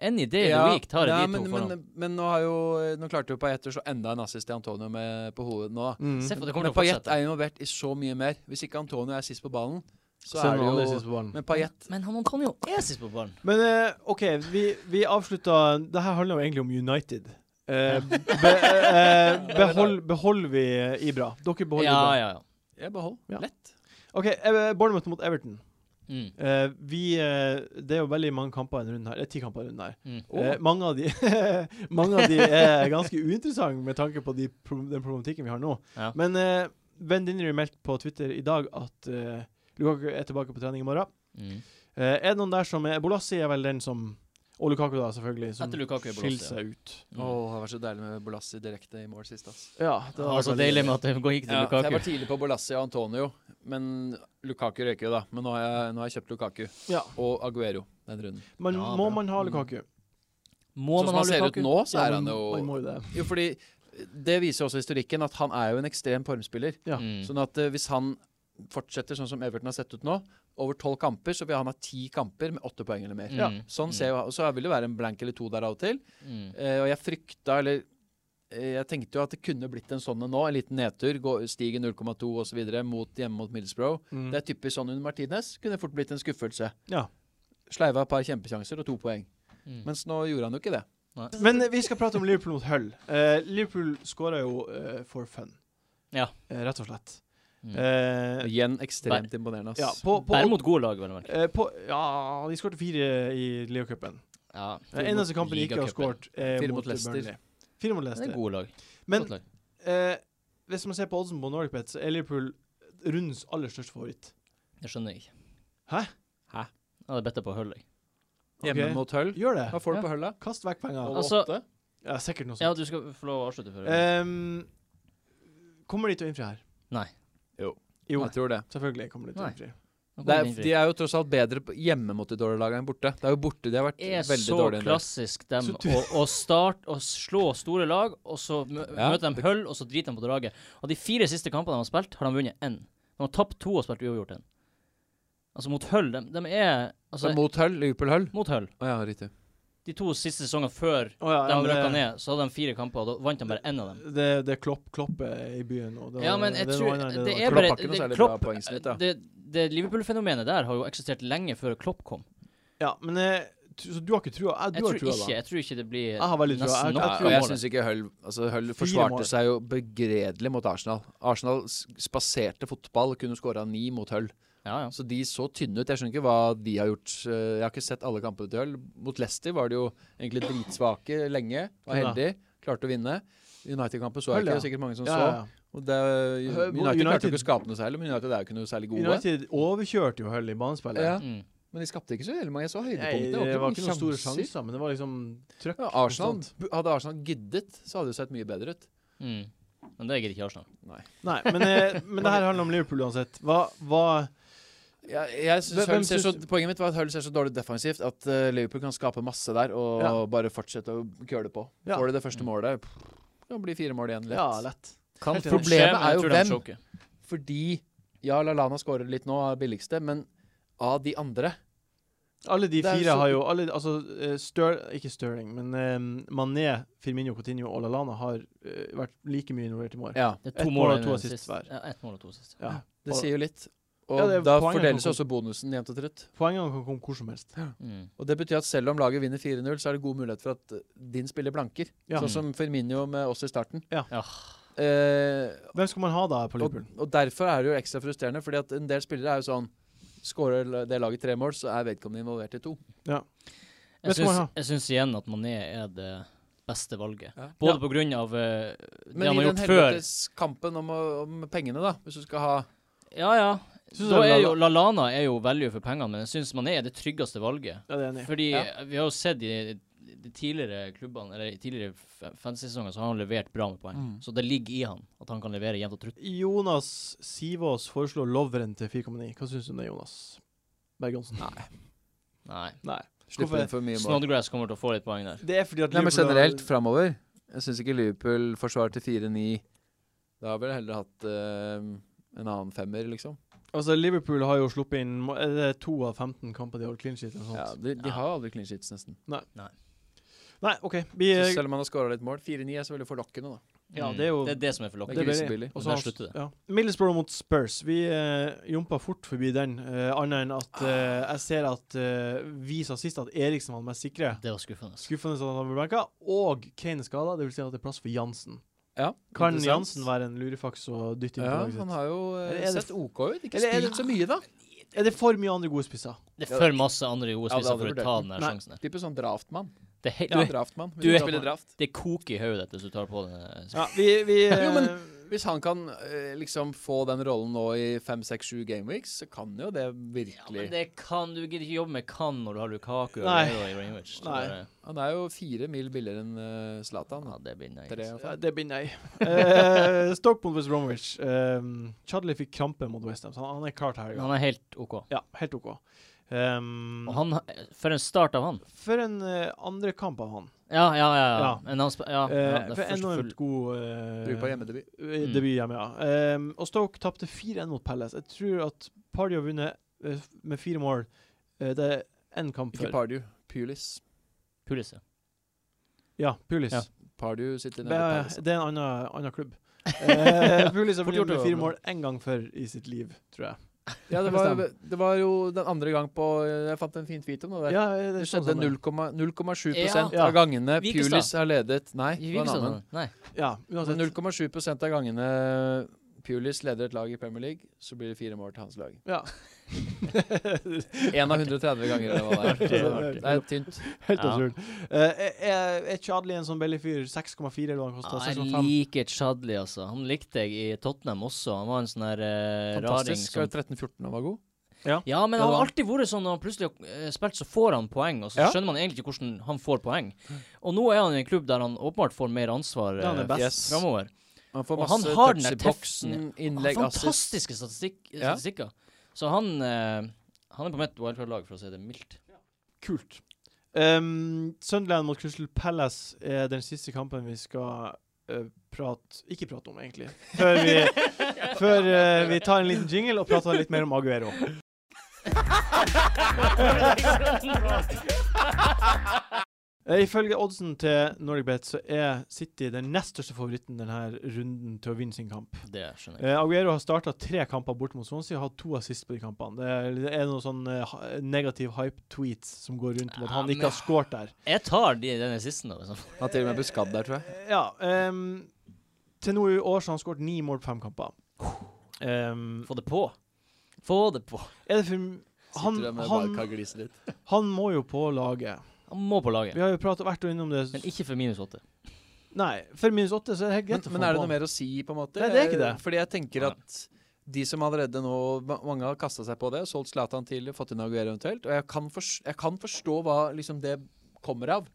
Any day of
Ja,
the week tar jeg
nei,
de to
men,
foran.
Men, men nå, har jo, nå klarte jo Payet å slå enda en assist til Antonio med, på hodet nå. da.
Mm.
Se for det kommer
Men
til å
Payet
fortsette.
er involvert i så mye mer. Hvis ikke Antonio er sist på ballen, så
Så er
er
noen andre
det
sist
jo
på ballen.
Men Payet
Men han Antonio er sist på ballen.
Men eh, OK, vi, vi avslutta Det her handler jo egentlig om United. Eh, be, eh, behold, beholder vi Ibra? Dere beholder
Ja,
Ibra.
ja, ja.
Jeg behold.
Ja.
Lett.
OK, eh, Bournemouth mot Everton.
Mm.
Eh, vi eh, Det er jo veldig mange kamper i denne runden her. Det er ti kamper i denne runden her.
Mm.
Eh, mange, av de, (laughs) mange av de er ganske uinteressante med tanke på de, pro- den problematikken vi har nå.
Ja.
Men eh, Ben Dinnery meldte på Twitter i dag at eh, Lukaku er tilbake på trening i morgen.
Mm.
Eh, er det noen der som er Bolassi er vel den som Og Lukaku, da, selvfølgelig. Som
Etter Lukaku er
skiller
Bolasie, ja.
seg ut.
Mm.
Åh, det har vært så deilig med Bolassi direkte i mål sist. ass.
Ja, det
Det
var
var så deilig med at det går- gikk til
Ja, så jeg
Lukaku.
var tidlig på Bolassi og Antonio, men Lukaku røyker jo da. Men nå har jeg, nå har jeg kjøpt Lukaku
Ja,
og Aguero den runden.
men
Ja,
må
bra. Mm.
man ha Lukaku?
Må
Sånn som
man ha
han ser ut
Lukaku?
nå, så
Ja,
er
man-
han
Man
jo
må jo det.
Jo, fordi det viser jo også historikken at han er jo en ekstrem formspiller.
Ja.
Mm.
Sånn at eh, hvis han fortsetter sånn som Everton har sett ut nå, over tolv kamper, så vil han ha ti kamper med åtte poeng eller mer.
Mm.
Ja,
Sånn ser jo, Så vil det være en blank eller to der av og til.
Mm.
Eh, og jeg frykta, eller eh, jeg tenkte jo at det kunne blitt en sånn en nå, en liten nedtur. Gå, stige 0,2 osv. mot hjemme mot Middlesbrough.
Mm.
Det er typisk sånn under Martinez. Kunne fort blitt en skuffelse.
Ja.
Sleiva et par kjempesjanser og to poeng.
Mm.
Mens nå gjorde han jo ikke det.
Men eh, vi skal prate om Liverpool mot Hull. Eh, Liverpool skåra jo eh, for fun,
Ja.
Eh, rett og slett.
Mm.
Eh,
Og igjen ekstremt imponerende,
ja,
ass.
på, på,
Bare mot gode lag, vel å merke.
eh, på, ja, de skårte fire i Leo-cupen.
Ja.
Den eneste kampen de ikke har
Ligacupen.
skåret, er
Fire
mot
mot Leicester.
Burnley. Fire mot
Det er
Leicester.
gode lag.
Men
Godt lag.
eh, hvis man ser på oddsen på Norwegian, så er Liverpool rundens aller største favoritt.
Det skjønner jeg ikke.
Hæ?
Hæ?
Jeg hadde bedt deg på å holde deg.
Hjemme
Ok.
mot Hull.
Gjør det.
Hva får du
Ja.
på Hull, da?
Kast vekk penger.
Over
Altså-
åtte?
Ja, sikkert noe sånt.
Ja, du skal få lov å avslutte før.
Ehm, kommer de til å innfri her?
Nei.
Jo.
Jo,
Jeg tror det.
selvfølgelig kommer de til å
Nei.
innfri.
Nå
det
kommer
er,
den inn.
de er jo tross alt bedre på- hjemme mot de dårlige lagene enn borte. Det er jo borte de har vært
er
veldig
så
dårlige. en del.
klassisk dem
Så du-
å, å starte å slå store lag, og så mø
Ja.
møter de hull, og så driter de på draget. Og de fire siste kampene de har spilt, har de vunnet én. De De har tapt to og spilt uavgjort en. Altså mot Hull. De, de er altså,
Så
mot,
mot Hull, Liverpool-Hull?
Hull.
Å ja, riktig.
De to siste sesongene før
Å ja,
de
ja,
røkka
det-
ned, så hadde de fire kamper, og da vant de bare én av dem.
Det, det er klopp, klopp er i byen. Og det,
Ja, men jeg
det er
tror
noe annet enn
Det
det
er
var.
Klopp
bare
har ikke noe
det-
særlig bra
Klopp-
poengsnitt, da.
Eh, Det, det Liverpool-fenomenet der har jo eksistert lenge før Klopp kom.
Ja, men eh, tr- Så du har ikke trua? Jeg,
Jeg
du
tror
har trua,
ikke,
da? Ah.
jeg tror ikke det blir
Jeg har veldig trua.
nesten
Jeg-
nok.
Ja,
jeg
av
og jeg
målet.
syns ikke Hull altså Hull
mål.
forsvarte seg jo begredelig mot Arsenal. Arsenal s- spaserte fotball og kunne skåra ni mot Hull.
ja, ja.
Så de så tynne ut. Jeg skjønner ikke hva de har gjort. Eh, Jeg har ikke sett alle kampene til Hull. Mot Leicester var de jo egentlig dritsvake lenge. Var
Ja.
heldig, klarte å vinne. United-kampen så jeg
Hull, ja.
ikke, det er sikkert mange som
Ja,
så.
ja, ja.
Og det, United, klarte
United-
jo ikke å skape noe særlig, men United er jo ikke noe særlig gode.
United overkjørte jo Hull i banespillet.
Ja.
Mm.
Men de skapte ikke så veldig mange. Jeg så
Nei,
høydepunktet.
det var
mange
ikke noen store
sjanser.
sjanser, men det var liksom trøkk.
Ja, Arsenal,
konstant.
hadde Arsenal giddet, så hadde det sett mye bedre ut.
Mm. Men det gidder ikke Arsenal.
Nei, men, eh, men det her handler om Liverpool uansett. Hva, hva
Jeg, jeg synes
Hvem- hvem
Hull ser så,
synes-
poenget mitt var at Hull ser så dårlig defensivt at eh, Liverpool kan skape masse der og
Ja.
bare fortsette å køle på.
Ja.
Får de det første
Mm.
målet, pff, kan bli fire mål igjen lett.
Ja, lett.
Kan
Helt enig.
fort skje,
Problemet
men jeg
er jo
tror de
hvem.
choker.
Fordi ja, Lallana skårer litt nå, er billigste, men av de andre
Alle de
Det er jo
fire
så-
har jo alle, Altså, eh, Stør, ikke Stirling, men eh, Mané, Firmino, Coutinho og Lallana har eh, vært like mye involvert i mål.
Ja,
Det
Ett
er to
mål
mål
og
og
to
to
assist
sist.
hver.
Ja, ett mål og to assist.
Ja.
det
Og-
sier jo litt. Og
Ja, det er
da
poenget
fordeles jo
som
også bonusen jevnt og trutt.
Poengene kan komme hvor som helst.
Mm.
Og det betyr at selv om laget vinner 4-0, så er det god mulighet for at eh, din spiller blanker.
Ja.
Sånn som Firmino med oss i starten.
Ja.
Ja.
Eh,
Hvem skal man ha da på
og,
Liverpool?
og derfor er det jo ekstra frustrerende, fordi at en del spillere er jo sånn Skårer la- det laget tre mål, så er vedkommende involvert i to.
Jeg
Vet du hva,
syns-
ja.
Jeg syns igjen at Mané er det beste valget.
Ja.
Både på grunn av eh, det
Men
han
i
har
den
gjort før.
helvetes kampen om, å- om pengene, da, hvis du skal ha
Ja, ja.
Synes
da
jeg
er jo Lallana er jo value for pengene, men jeg syns Mané er det tryggeste valget.
Ja, det er jeg enig. i.
Fordi
Ja.
vi har jo sett i de tidligere klubbene, eller i tidligere f- fantasy-sesonger, så har han levert bra med poeng.
Mm.
Så det ligger i han at han kan levere jevnt og trutt.
Jonas Sivås foreslår Lovren til 4,9. Hva syns du om det, Jonas Bergonsen? Nei.
Nei.
Nei. Hvorfor-
Slipper inn for mye mål.
Snodgrass kommer til å få litt poeng der.
Det er fordi at
Nei, men
Liverpool har-
generelt framover. Jeg syns ikke Liverpool forsvarer til 4-9. Da har vel heller hatt eh, en annen femmer, liksom.
Altså, Liverpool har jo sluppet inn må- er det to av 15 kamper de har holdt clean sheet. Eller noe
Ja,
sånt.
de, de
Ja.
har jo aldri clean sheets, nesten.
Nei, OK. Vi,
Så
eh,
selv om han har skåra litt mål. 4-9 er så veldig forlokkende, da.
ja,
Mm.
det er jo
Det er det som er for
Det
lokket.
er
veldig-
grisebillig.
og så
Men der
har-
slutter det.
Ja. Middlesbrough mot Spurs. Vi eh, jumpa fort forbi den, eh, annet enn at eh, jeg ser at eh, vi sa sist at Eriksen var den mest sikre.
Det var skuffende. altså.
Skuffende sånn at han ble benka. Og Kane er skada, dvs. Si at det er plass for Jansen.
Ja,
Kan
interessant.
Jansen være en lurefaks å dytte inn
Ja,
på laget sitt?
han har jo eh,
Eller er det-
sett OK ut. Ikke
Eller er det-
spilt så mye, da.
Er det for mye andre gode spisser?
Det er for masse andre gode
Ja, det
spisser
hadde
for å
vært
ta den
det.
der
Nei.
sjansen der.
Type sånn draftmann.
Det, er helt-
Ja,
du,
draftmann.
du
Vil
er-
spille draft.
det koker i hodet ditt hvis du tar på den. eh,
Ja, vi, vi eh,
(laughs) Jo, men- Hvis han kan eh, liksom få den rollen nå i fem, seks, sju gameweeks, så kan jo det
Ja, men
virkelig
det kan, du gidder ikke jobbe med kan når du har Lukaku og
Nei.
Aguero og Ibrahimovic. Det
Nei.
bare-
Han er jo fire mil billigere enn eh, Zlatan.
Ja, det blir nei.
Tre og
ja,
fem.
Det blir nei. Eh, Stoke mot West Bromwich. Um, Chadley fikk krampe mot Westham, så han, han er klar til helga.
Han er helt OK.
Ja, helt OK. Um,
Og han, har- for en start av han.
for en eh, andre kamp av han.
Ja, ja, ja. ja.
Ja.
Men han sp- ja, ja,
Eh,
det er
for
først
enormt
full-
god eh,
Brukbar hjemmedebut.
eh,
Mm.
debut hjemme, ja. Ehm, og Stoke tapte 4-1 mot Palace. Jeg tror at Party har vunnet eh, f- med fire mål. Eh, det er én kamp
Ikke
før.
Pardew. Pulis.
Pulisic.
Ja, Pulis.
Ja.
Pardew sitter
Det
nede på
er,
Palace.
det er en annen, annen
(laughs)
klubb. Eh, Pulis har
Fort
vunnet
gjort å
med
være
fire
med.
mål én gang før i sitt liv, tror jeg. (laughs)
Ja, det var, det var jo den andre gang på eh, Jeg fant en fin tweet om det. der.
Ja, eh,
Det
er sånn
skjedde
som
0,7
Ja.
av gangene
Vikestad.
Pulis har ledet Nei, det var en annen.
Vikestad? sånn, Nei.
Ja,
Altså
uansett.
0,7 av gangene Pulis leder et lag i Premier League, så blir det fire mål til hans lag. (laughs)
Ja.
Én av 130 ganger. Eller hva (laughs) det,
(laughs) Det er
er. Altså,
artig.
det er tynt.
Helt
Ja.
absurd. Eh, er er Chadli en sånn Belly-fyr? 6,4 eller hva han
Ja,
kosta?
Ah, jeg
6,5?
liker Chadli, altså. Han likte jeg i Tottenham også. Han var en sånn der eh, raring
Fantastisk. Skal
som
være 13-14 og var god.
Ja, men
Ja,
han
det
har
var-
alltid vært sånn når han plutselig har eh, spilt, så får han poeng, og så
Ja.
skjønner man egentlig ikke hvordan han får poeng. Og nå er han i en klubb der han åpenbart får mer ansvar
Ja, han er
eh,
best.
Yes.
framover.
Han får
Og
masse
han har den
touch i
der
boksen,
teften,
innlegg, assist.
Fantastiske statistikk,
Ja.
statistikker. Så han eh, Han er på mitt wildcard-lag, for å si det
Ehm,
mildt.
Kult. Um, Sunderland mot Crystal Palace er den siste kampen vi skal eh, eh, prate Ikke prate om, egentlig. Før vi,
(laughs)
før, eh, vi tar en liten jingle og prater litt mer om Aguero. Eh, Ifølge oddsen til NordicBet så er City den nest største favoritten denne runden til å vinne sin kamp.
Det skjønner jeg.
Eh, Aguero har starta tre kamper bort mot Swansea og har to assist på de kampene. Det er, det er noen sånn eh, ha- negativ hype-tweets som går rundt om at han ikke har skåret der.
Jeg tar de, den assisten, da. Liksom.
Han har til og med blitt skadd der, tror jeg.
Ja. ehm, til nå i år så har han skåret ni mål på fem kamper. Ehm,
Få det på. Få det på.
er det for m- han,
Sitter der med
han,
wildcard og gliser litt.
han må jo på laget.
Han må på
Vi
laget.
har jo pratet vært og innom det.
Men ikke for minus åtte.
Nei, for minus åtte så er det helt
Men,
greit å få
men er det
på
noe
han.
mer å si, på en måte?
Nei, det er ikke
Eh,
det.
Fordi jeg tenker
Nei.
at de som allerede nå ma- Mange har kasta seg på det, solgt Zlatan tidlig, fått inn Aguero eventuelt. Og jeg kan, fors jeg kan forstå hva liksom det kommer av.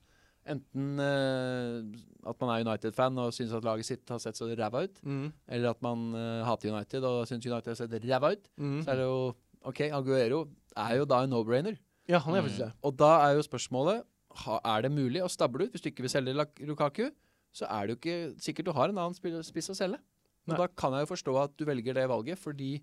Enten eh, at man er United-fan og syns at laget sitt har sett så ræva ut,
Mm,
eller at man eh, hater United og syns United har sett ræva ut.
mm.
Så er det jo OK, Aguero er jo da en no-brainer.
Ja, han er faktisk
Mm.
det.
Og da er jo spørsmålet ha, Er det mulig å stable ut hvis du ikke vil selge Lak- Lukaku? Så er det jo ikke sikkert du har en annen spill- spiss å selge. Og
Nei.
da kan jeg jo forstå at du velger det valget, fordi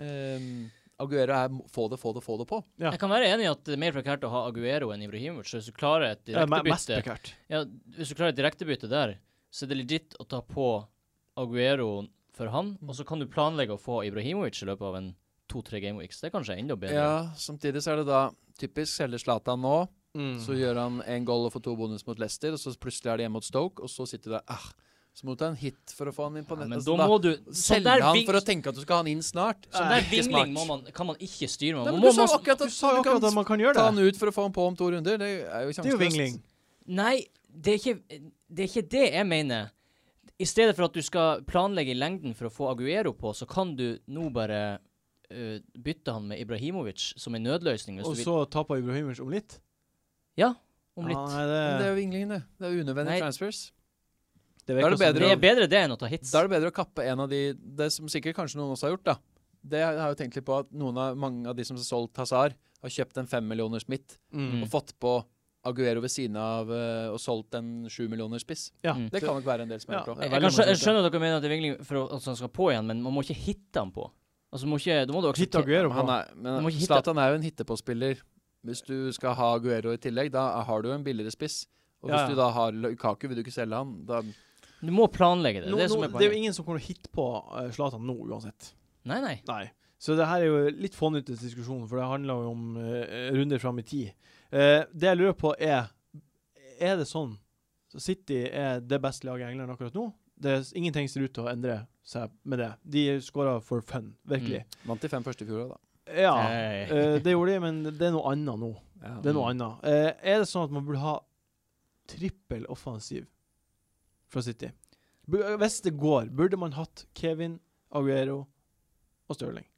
ehm, Aguero er m- få det, få det, få det på.
Ja.
Jeg kan være enig i at det er mer prekært å ha Aguero enn Ibrahimovic. så Hvis du klarer et
Ja, me- mest
direktebytte
prekært.
ja, Hvis du klarer et direktebytte der, så er det legit å ta på Aguero for han, og så kan du planlegge å få Ibrahimovic i løpet av en to-tre gameweeks. Det er kanskje enda bedre.
Ja, Samtidig så er det da typisk selger Zlatan nå,
Mm.
så gjør han én goal og får to bonus mot Leicester, og så plutselig er det hjemme mot Stoke, og så sitter du der ah, Så må du ta en hit for å få han inn på
Ja,
nettet.
men da
så da
må du sånn
Selge
der
han
ving-
for å tenke at du skal ha han inn snart.
Sånn
Det
der
er ikke
vingling
smart.
må man, kan man ikke styre med.
Nei, men
man
du
må,
sa
man,
akkurat
Du
at
sa jo
du kan
akkurat at man kan gjøre
Ta
det.
han ut for å få han på om to runder. Det er jo
Det er jo
sjanseløst.
vingling.
nei det, er ikke, det er ikke det jeg mener. I stedet for at du skal planlegge i lengden for å få Aguero på, så kan du nå bare eh, bytte han med Ibrahimovic som en nødløsning. Hvis
Og
du vil.
så tappa Ibrahimovic om litt.
Ja, om litt.
Ja, nei,
Men det
det,
er jo vingling, det. Det er jo unødvendige
Nei.
transfers.
det
da er det
virker som
det er bedre det enn å ta hits.
Da er det bedre å kappe en av de Det som sikkert kanskje noen også har gjort, da. Det har jeg jo tenkt litt på at noen av, mange av de som har solgt Hazar, har kjøpt en femmillioners midt
Mm.
og fått på Aguero ved siden av eh, og solgt en sjumillioners spiss.
Ja.
Mm.
Det kan nok være en del som har
Ja.
gjort
Det er
det.
jeg, jeg,
veldig
kan skjø-
mange
jeg skjønner at dere mener at det er vingling for å- at han skal på igjen, men man må ikke hitte han på. Altså, man må ikke, da må du
Hitt
akseptere
Aguero
Men han
på.
er-
Du
Men
må ikke hitte-
Zlatan er jo en hittepåspiller. Hvis du skal ha Aguero i tillegg, da har du jo en billigere spiss. Og hvis
Ja, ja.
du da har Lukaku, vil du ikke selge han. Da
Du må planlegge det.
Nå,
det er
nå,
det som er
det er jo
poenget.
ingen som kommer til å hitte på eh, Zlatan nå, uansett.
Nei, nei.
Nei. Så det her er jo litt fånyttes diskusjon, for det handler jo om eh, runder fram i tid. Eh, det jeg lurer på, er Er det sånn så City er det beste laget i England akkurat nå? Det er, ingenting ser ut til å endre seg med det. De skåra for fun, virkelig.
vant de fem første i fjor òg, da.
Ja,
Nei.
eh, det gjorde de, men det er noe annet nå. Det er noe annet. Eh, er det sånn at man burde ha trippel offensiv fra City? Bu- Hvis det går, burde man hatt Kevin, Aguero og Stirling?
(laughs)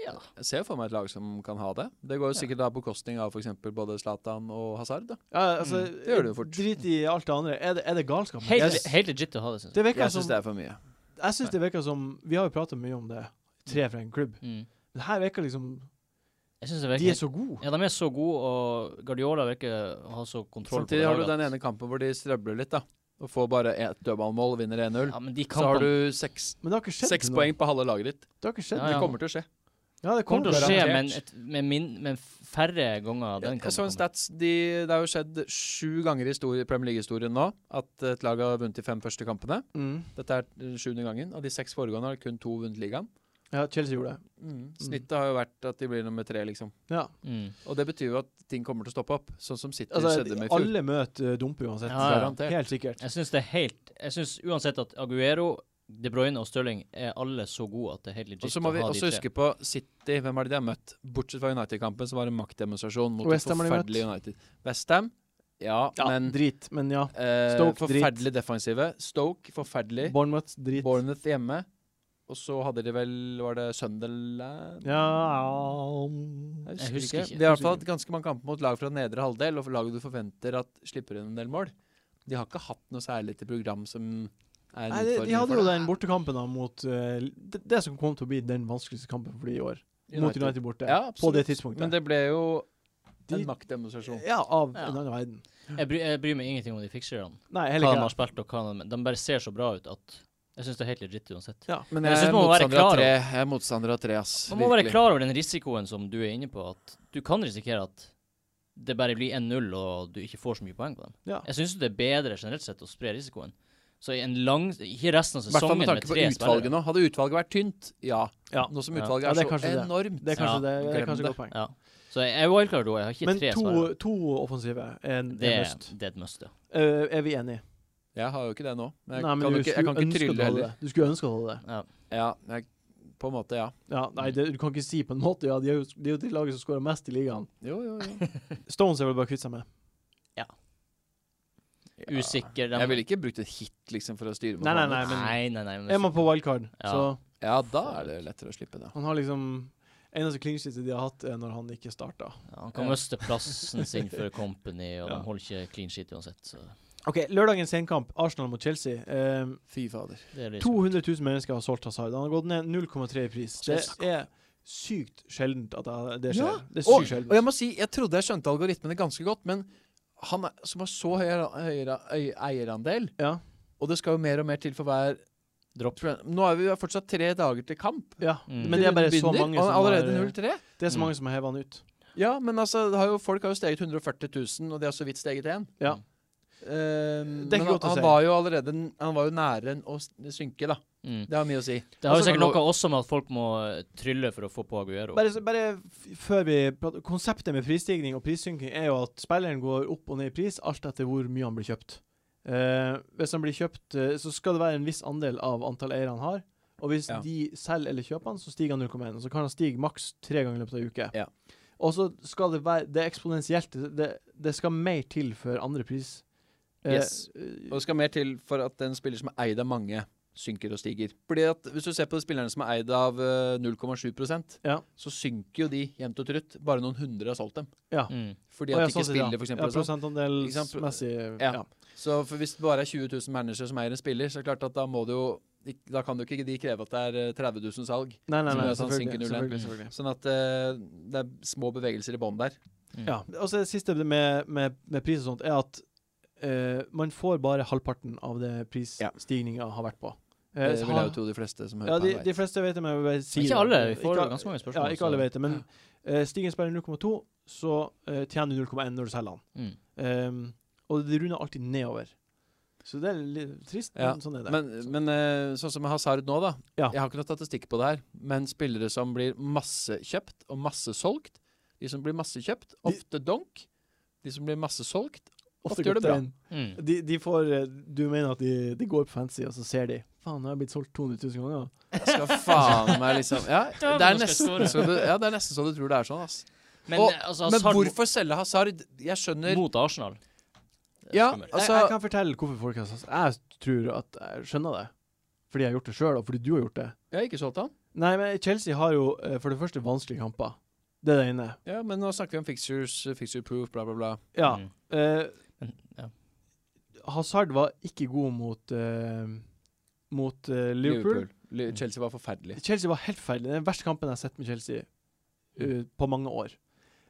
Ja.
Jeg ser jo for meg et lag som kan ha det. Det går jo
Ja.
sikkert da på bekostning av f.eks. både Zlatan og Hazard. Da.
Ja, altså,
Mm,
det gjør det jo fort.
Drit i alt det andre. Er det, er det galskap?
Helt,
Jeg s-
helt legit å ha det, synes jeg.
det virker
Jeg syns
som,
det er for mye.
jeg syns det virker som Vi har jo prata mye om det. Tre fra en klubb.
Mm.
Men her virker liksom
Jeg synes det virker
De er så gode.
Ja, de er så gode, og Guardiola virker å ha så kontroll
Samtidig
på
har du
laget
den
at-
ene kampen hvor de strøbler litt, da. Og får bare ett dødballmål og vinner 1-0.
Ja, men de
Så har
kampene
du seks,
Men det har ikke skjedd
seks
til nå.
poeng på halve laget ditt.
Det har ikke skjedd.
Ja,
til
ja.
Det
nå.
kommer til å skje.
Ja, det
kommer til å skje,
garantert.
men, et, med, min, men færre ganger den
Jeg så
kampen
en stats de, Det har jo skjedd sju ganger i historie- Premier League-historien nå at et lag har vunnet de fem første kampene.
Mm.
Dette er den sjuende gangen. Av de seks foregående har kun to vunnet ligaen.
Ja, Chelsea gjorde det.
Mm. Snittet har jo vært at de blir nummer tre, liksom.
Ja.
kommer. Mm.
Og det betyr jo at ting kommer til å stoppe opp, sånn som City skjedde
Altså,
med i fjor.
alle møter eh, dumper uansett.
Ja, ja.
Garantert.
Helt sikkert.
Jeg syns det er helt Jeg syns uansett at Aguero, De Bruyne og Stirling er alle så gode at det er helt legit
Og så må
å
vi
ha
også
de
huske på City. Hvem er det de har møtt? Bortsett fra United-kampen, som var en maktdemonstrasjon mot et
West Ham har de møtt.
forferdelig United. Westham, ja,
Ja,
men
drit, men ja.
eh,
Stoke, drit.
forferdelig defensive. Stoke, forferdelig.
Bournemouth, drit.
Bournemouth hjemme. Og så hadde de vel Var det Sunderland?
Ja um,
Jeg
Jeg
husker,
husker ikke.
ikke. De har i hvert fall hatt ganske mange kamper mot lag fra nedre halvdel, og lag du forventer at slipper inn en del mål. De har ikke hatt noe særlig til program som er en
Nei, de, de
utfordring
hadde
for
jo
dem.
den bortekampen da mot eh, det, det som kom til å bli den vanskeligste kampen for de i år. Mot United borte.
Ja,
på det
absolutt.
tidspunktet.
Men det ble jo
De-
En maktdemonstrasjon.
Ja, av
Ja.
en annen verden.
Jeg, bry, jeg bryr meg ingenting om de fikserne.
Nei,
Hva
heller
de
ikke
har
det.
spilt, og hva de, de bare ser så bra ut at jeg syns det er helt legit uansett.
Ja.
Men
jeg
jeg,
synes
er
man må være
motstander av
klar
tre. Jeg er motstander av tre, ass.
Man må være
Virkelig.
klar over den risikoen som du er inne på, at du kan risikere at det bare blir 1-0, og du ikke får så mye poeng på dem.
Ja.
Jeg syns det er bedre generelt sett å spre risikoen. Så i en lang Ikke resten av
I hvert fall
sesongen
med
med
tanke på
tre
utvalget
spillere.
nå. Hadde utvalget vært tynt, ja.
Ja.
Nå som
Ja.
utvalget
Ja, det
er,
er kanskje
så
det.
enormt
Det er kanskje,
Ja,
det, det er
glem
kanskje et
det.
godt poeng.
Ja. Så jeg er wildcard òg. Jeg har ikke
Men
tre
to,
spillere.
to offensive er en
Det,
er
er-
must.
det er et must, ja.
Eh, er vi enige?
Jeg har jo ikke det nå. Men jeg
Nei, men
kan,
du
jo ikke, jeg
skulle
kan
ønske
ikke
at du
trylle
hadde
heller.
det. Du skulle ønske å holde det.
ja.
Ja, jeg, på en måte, ja.
Ja, nei, det, du kan ikke si på en måte ja, de er jo, de er jo de laget som skårer mest i ligaen.
Jo, jo, jo.
Stones er vel bare kvitt seg med.
Ja.
Usikker. dem-
Jeg ville ikke brukt et hit liksom for å styre mot
Nei, nei,
Malmö.
nei, men
Nei, nei, nei. men-
er man på wildcard,
Ja.
så
Ja, da er det lettere å slippe det.
han har liksom Eneste clinchete de har hatt, er når han ikke starta.
Ja, han kan
Ja.
miste
(laughs)
plassen sin for Company, og
Ja.
de holder ikke clean shit uansett. Så
OK, lørdagens senkamp, Arsenal mot Chelsea. Eh,
Fy fader.
det er litt
200 000 mennesker har solgt Hazard. Han har gått ned 0,3 i pris. Det
Jesus.
er sykt sjeldent at det- det
Ja,
skjer. Det er sykt
Og, og jeg
sjeldent.
må si, jeg trodde jeg skjønte algoritmene ganske godt, men han er, som har så høy, høyere- øy- eierandel,
Ja.
og det skal jo mer og mer til for hver dropp Nå er vi jo fortsatt tre dager til kamp.
ja.
Mm.
Men det er bare
Runden
så
begynner,
mange
og
som
Allerede
har,
0-3?
det er så
Mm.
mange som har heva han ut.
Ja, men altså, det har jo, folk har jo steget 140 000, og de har så vidt steget én.
Ja.
Ehm,
Det er ikke
men
godt å
han,
si.
han var jo allerede Han var jo nære enn å s- synke, da.
Mm.
Det har mye å si.
Det har jo
Altså,
sikkert
nå-
noe også med at folk må eh, trylle for å få på Aguero.
Bare, så- bare f- før vi prater Konseptet med prisstigning og prissynking er jo at spilleren går opp og ned i pris alt etter hvor mye han blir kjøpt. Eh, hvis han blir kjøpt, eh, så skal det være en viss andel av antall eiere han har. Og hvis
Ja.
de selger eller kjøper han, så stiger han 0,1. Og så kan han stige maks tre ganger i løpet av en uke.
Ja.
Og så skal det være Det er eksponentielt. Det- Det, det skal mer til før andre pris eh,
Yes. Og det skal mer til for at en spiller som er eid av mange, synker og stiger. Fordi at Hvis du ser på de spillerne som er eid av eh, 0,7
Ja.
så synker jo de jevnt og trutt. Bare noen hundre har solgt dem.
Mm.
Fordi
Å,
at
ja,
de ikke
sånn sett, ja.
spiller, for
Ja,
eksempel. og sånn. Ikke sant?
prosentandelsmessig
Ja.
ja.
Så for hvis det bare er 20 000 managere som eier en spiller, så er det klart at da må det jo ikk- Da kan jo ikke de kreve at det er eh, 30 000 salg.
Nei, nei,
Som
nei.
gjør at han
Selvfølgelig.
synker 0,1.
selvfølgelig, selvfølgelig.
Sånn at eh, det er små bevegelser i bånn der.
mm,
Ja. Og så det siste med, med, med pris og sånt, er at eh, man får bare halvparten av det prisstigninga har vært på. Eh,
Det
så
vil jeg
har-
jo tro de fleste som
ja,
hører
de,
på. her
de
vet.
fleste vet det, men jeg vil bare si
Ikke
det.
alle. Vi får
Ikke-
ganske mange spørsmål.
Ja, ikke alle
så-
vet det, men eh, stiger spiller 0,2, så eh, tjener du 0,1 når du selger den.
Mm.
Ehm, og det runder alltid nedover. Så det er litt trist,
Ja,
men sånn er det.
Men, men eh, sånn som med Hazard nå, da.
Ja.
Jeg har ikke noe statistikk på det her, men spillere som blir massekjøpt og massesolgt De som blir massekjøpt, ofte donk. De som blir massesolgt ofte gjør det bra.
kaptein,
Mm.
De, de får eh, Du mener at de, de går på fancy, og så ser de Faen, nå har jeg blitt solgt 200 000 ganger.
Jeg skal faen meg liksom Ja,
Ja,
det er
men nå skal
nesten
jeg
så du, ja, det er nesten så du tror det er sånn, ass.
Men,
Og-
eh, altså,
Men
Hazard
hvorfor selge Hazard? Jeg skjønner
mot Arsenal? Det er
Ja,
skummelt.
altså
jeg, jeg kan fortelle hvorfor folk har sagt Jeg tror at jeg skjønner det. Fordi jeg har gjort det sjøl, og fordi du har gjort det.
Jeg har ikke solgt han.
Nei, men Chelsea har jo eh, for det første vanskelige kamper. Det er det ene.
Ja, men nå snakker vi om fixtures, fixture proof, bla, bla, bla.
Ja.
Mm.
eh,
Ja.
Hazard var ikke god mot eh, mot eh, Liverpool.
Li- Chelsea var forferdelig.
Chelsea var helt ferdig. Det er den verste kampen jeg har sett med Chelsea
Mm.
eh, på mange år.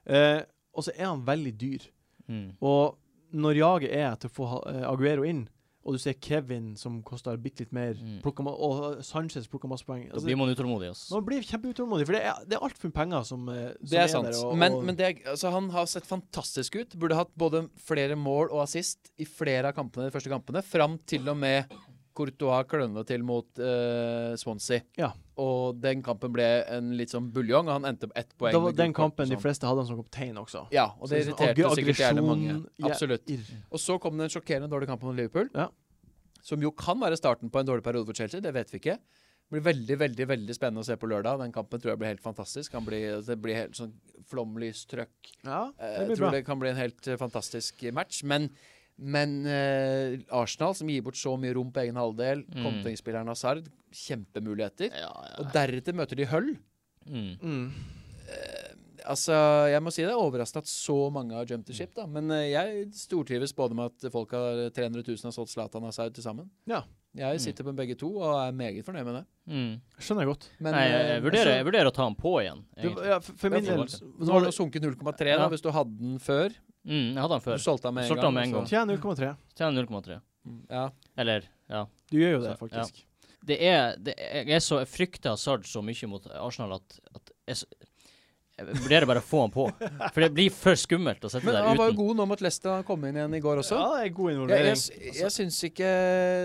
Eh, og så er han veldig dyr.
Mm.
Og når jaget er til å få eh, Aguero inn, og du ser Kevin som koster bitte litt mer,
Mm.
plukker ma- og eh, Sanchez plukker masse poeng
Da
Altså,
blir man utålmodig, ass.
Man blir kjempeutålmodig, for det er, det er altfor mye penger som, eh, som
Det er sant.
der. Og,
men
og,
men det, er- altså, han har sett fantastisk ut. Burde hatt både flere mål og assist i flere av kampene, de første kampene. Fram til og med Courtois kløna til mot eh, Swansea.
Ja.
Og den kampen ble en litt sånn buljong, og han endte opp ett poeng.
det var
med
den
gult kort og
kampen de
sånn.
fleste hadde han som kaptein også.
Ja, og det
Så
irriterte
det er sånn ag-
sikkert gjerne mange.
aggresjon, ja.
Absolutt.
Irr.
Og så kom det en sjokkerende dårlig kamp mot Liverpool.
Ja.
Som jo kan være starten på en dårlig periode for Chelsea, det vet vi ikke. Det blir veldig veldig, veldig spennende å se på lørdag. Den kampen tror jeg blir helt fantastisk. Kan bli, det blir helt sånn flomlystrøkk.
Ja,
Eh,
det
Jeg
blir bra.
tror det kan bli en helt eh, fantastisk match. Men, men eh, Arsenal, som gir bort så mye rom på egen halvdel,
Mm.
kontringsspilleren Hazard, kjempemuligheter.
Ja, Mm, ja.
Og deretter møter de Hull.
Mm.
Mm.
Altså, jeg må si det er overraskende at så mange har jumped the ship, da. Men eh, jeg stortrives både med at folk har 300 000 har solgt Zlatan Asaud til sammen.
Ja.
Jeg
Mm.
sitter på begge to og er meget fornøyd med det.
Mm.
Skjønner jeg godt.
Men
Nei, jeg,
eh,
jeg, vurderer,
altså,
jeg vurderer å ta han på igjen,
Du,
egentlig.
ja, for, for min
Ja,
del
forvalter.
Nå har den sunket 0,3 da,
Ja.
hvis du hadde den før.
Mm, jeg hadde han
Du
før.
solgte den med en
Solgte
gang.
den med en gang.
så-
Tjener 0,3.
Tjener 0,3.
Ja.
Eller, ja.
Du gjør jo det,
Så, ja.
faktisk.
Det er, det er Jeg er så jeg frykter Hazard så mye mot Arsenal at, at jeg, s- jeg vurderer bare å få han på. For det blir for skummelt å sette
Men
der
han var jo
uten.
god nå med at Leicester kom inn igjen i går også.
Ja, det Altså- er god
Jeg, jeg,
involvering.
s- jeg syns ikke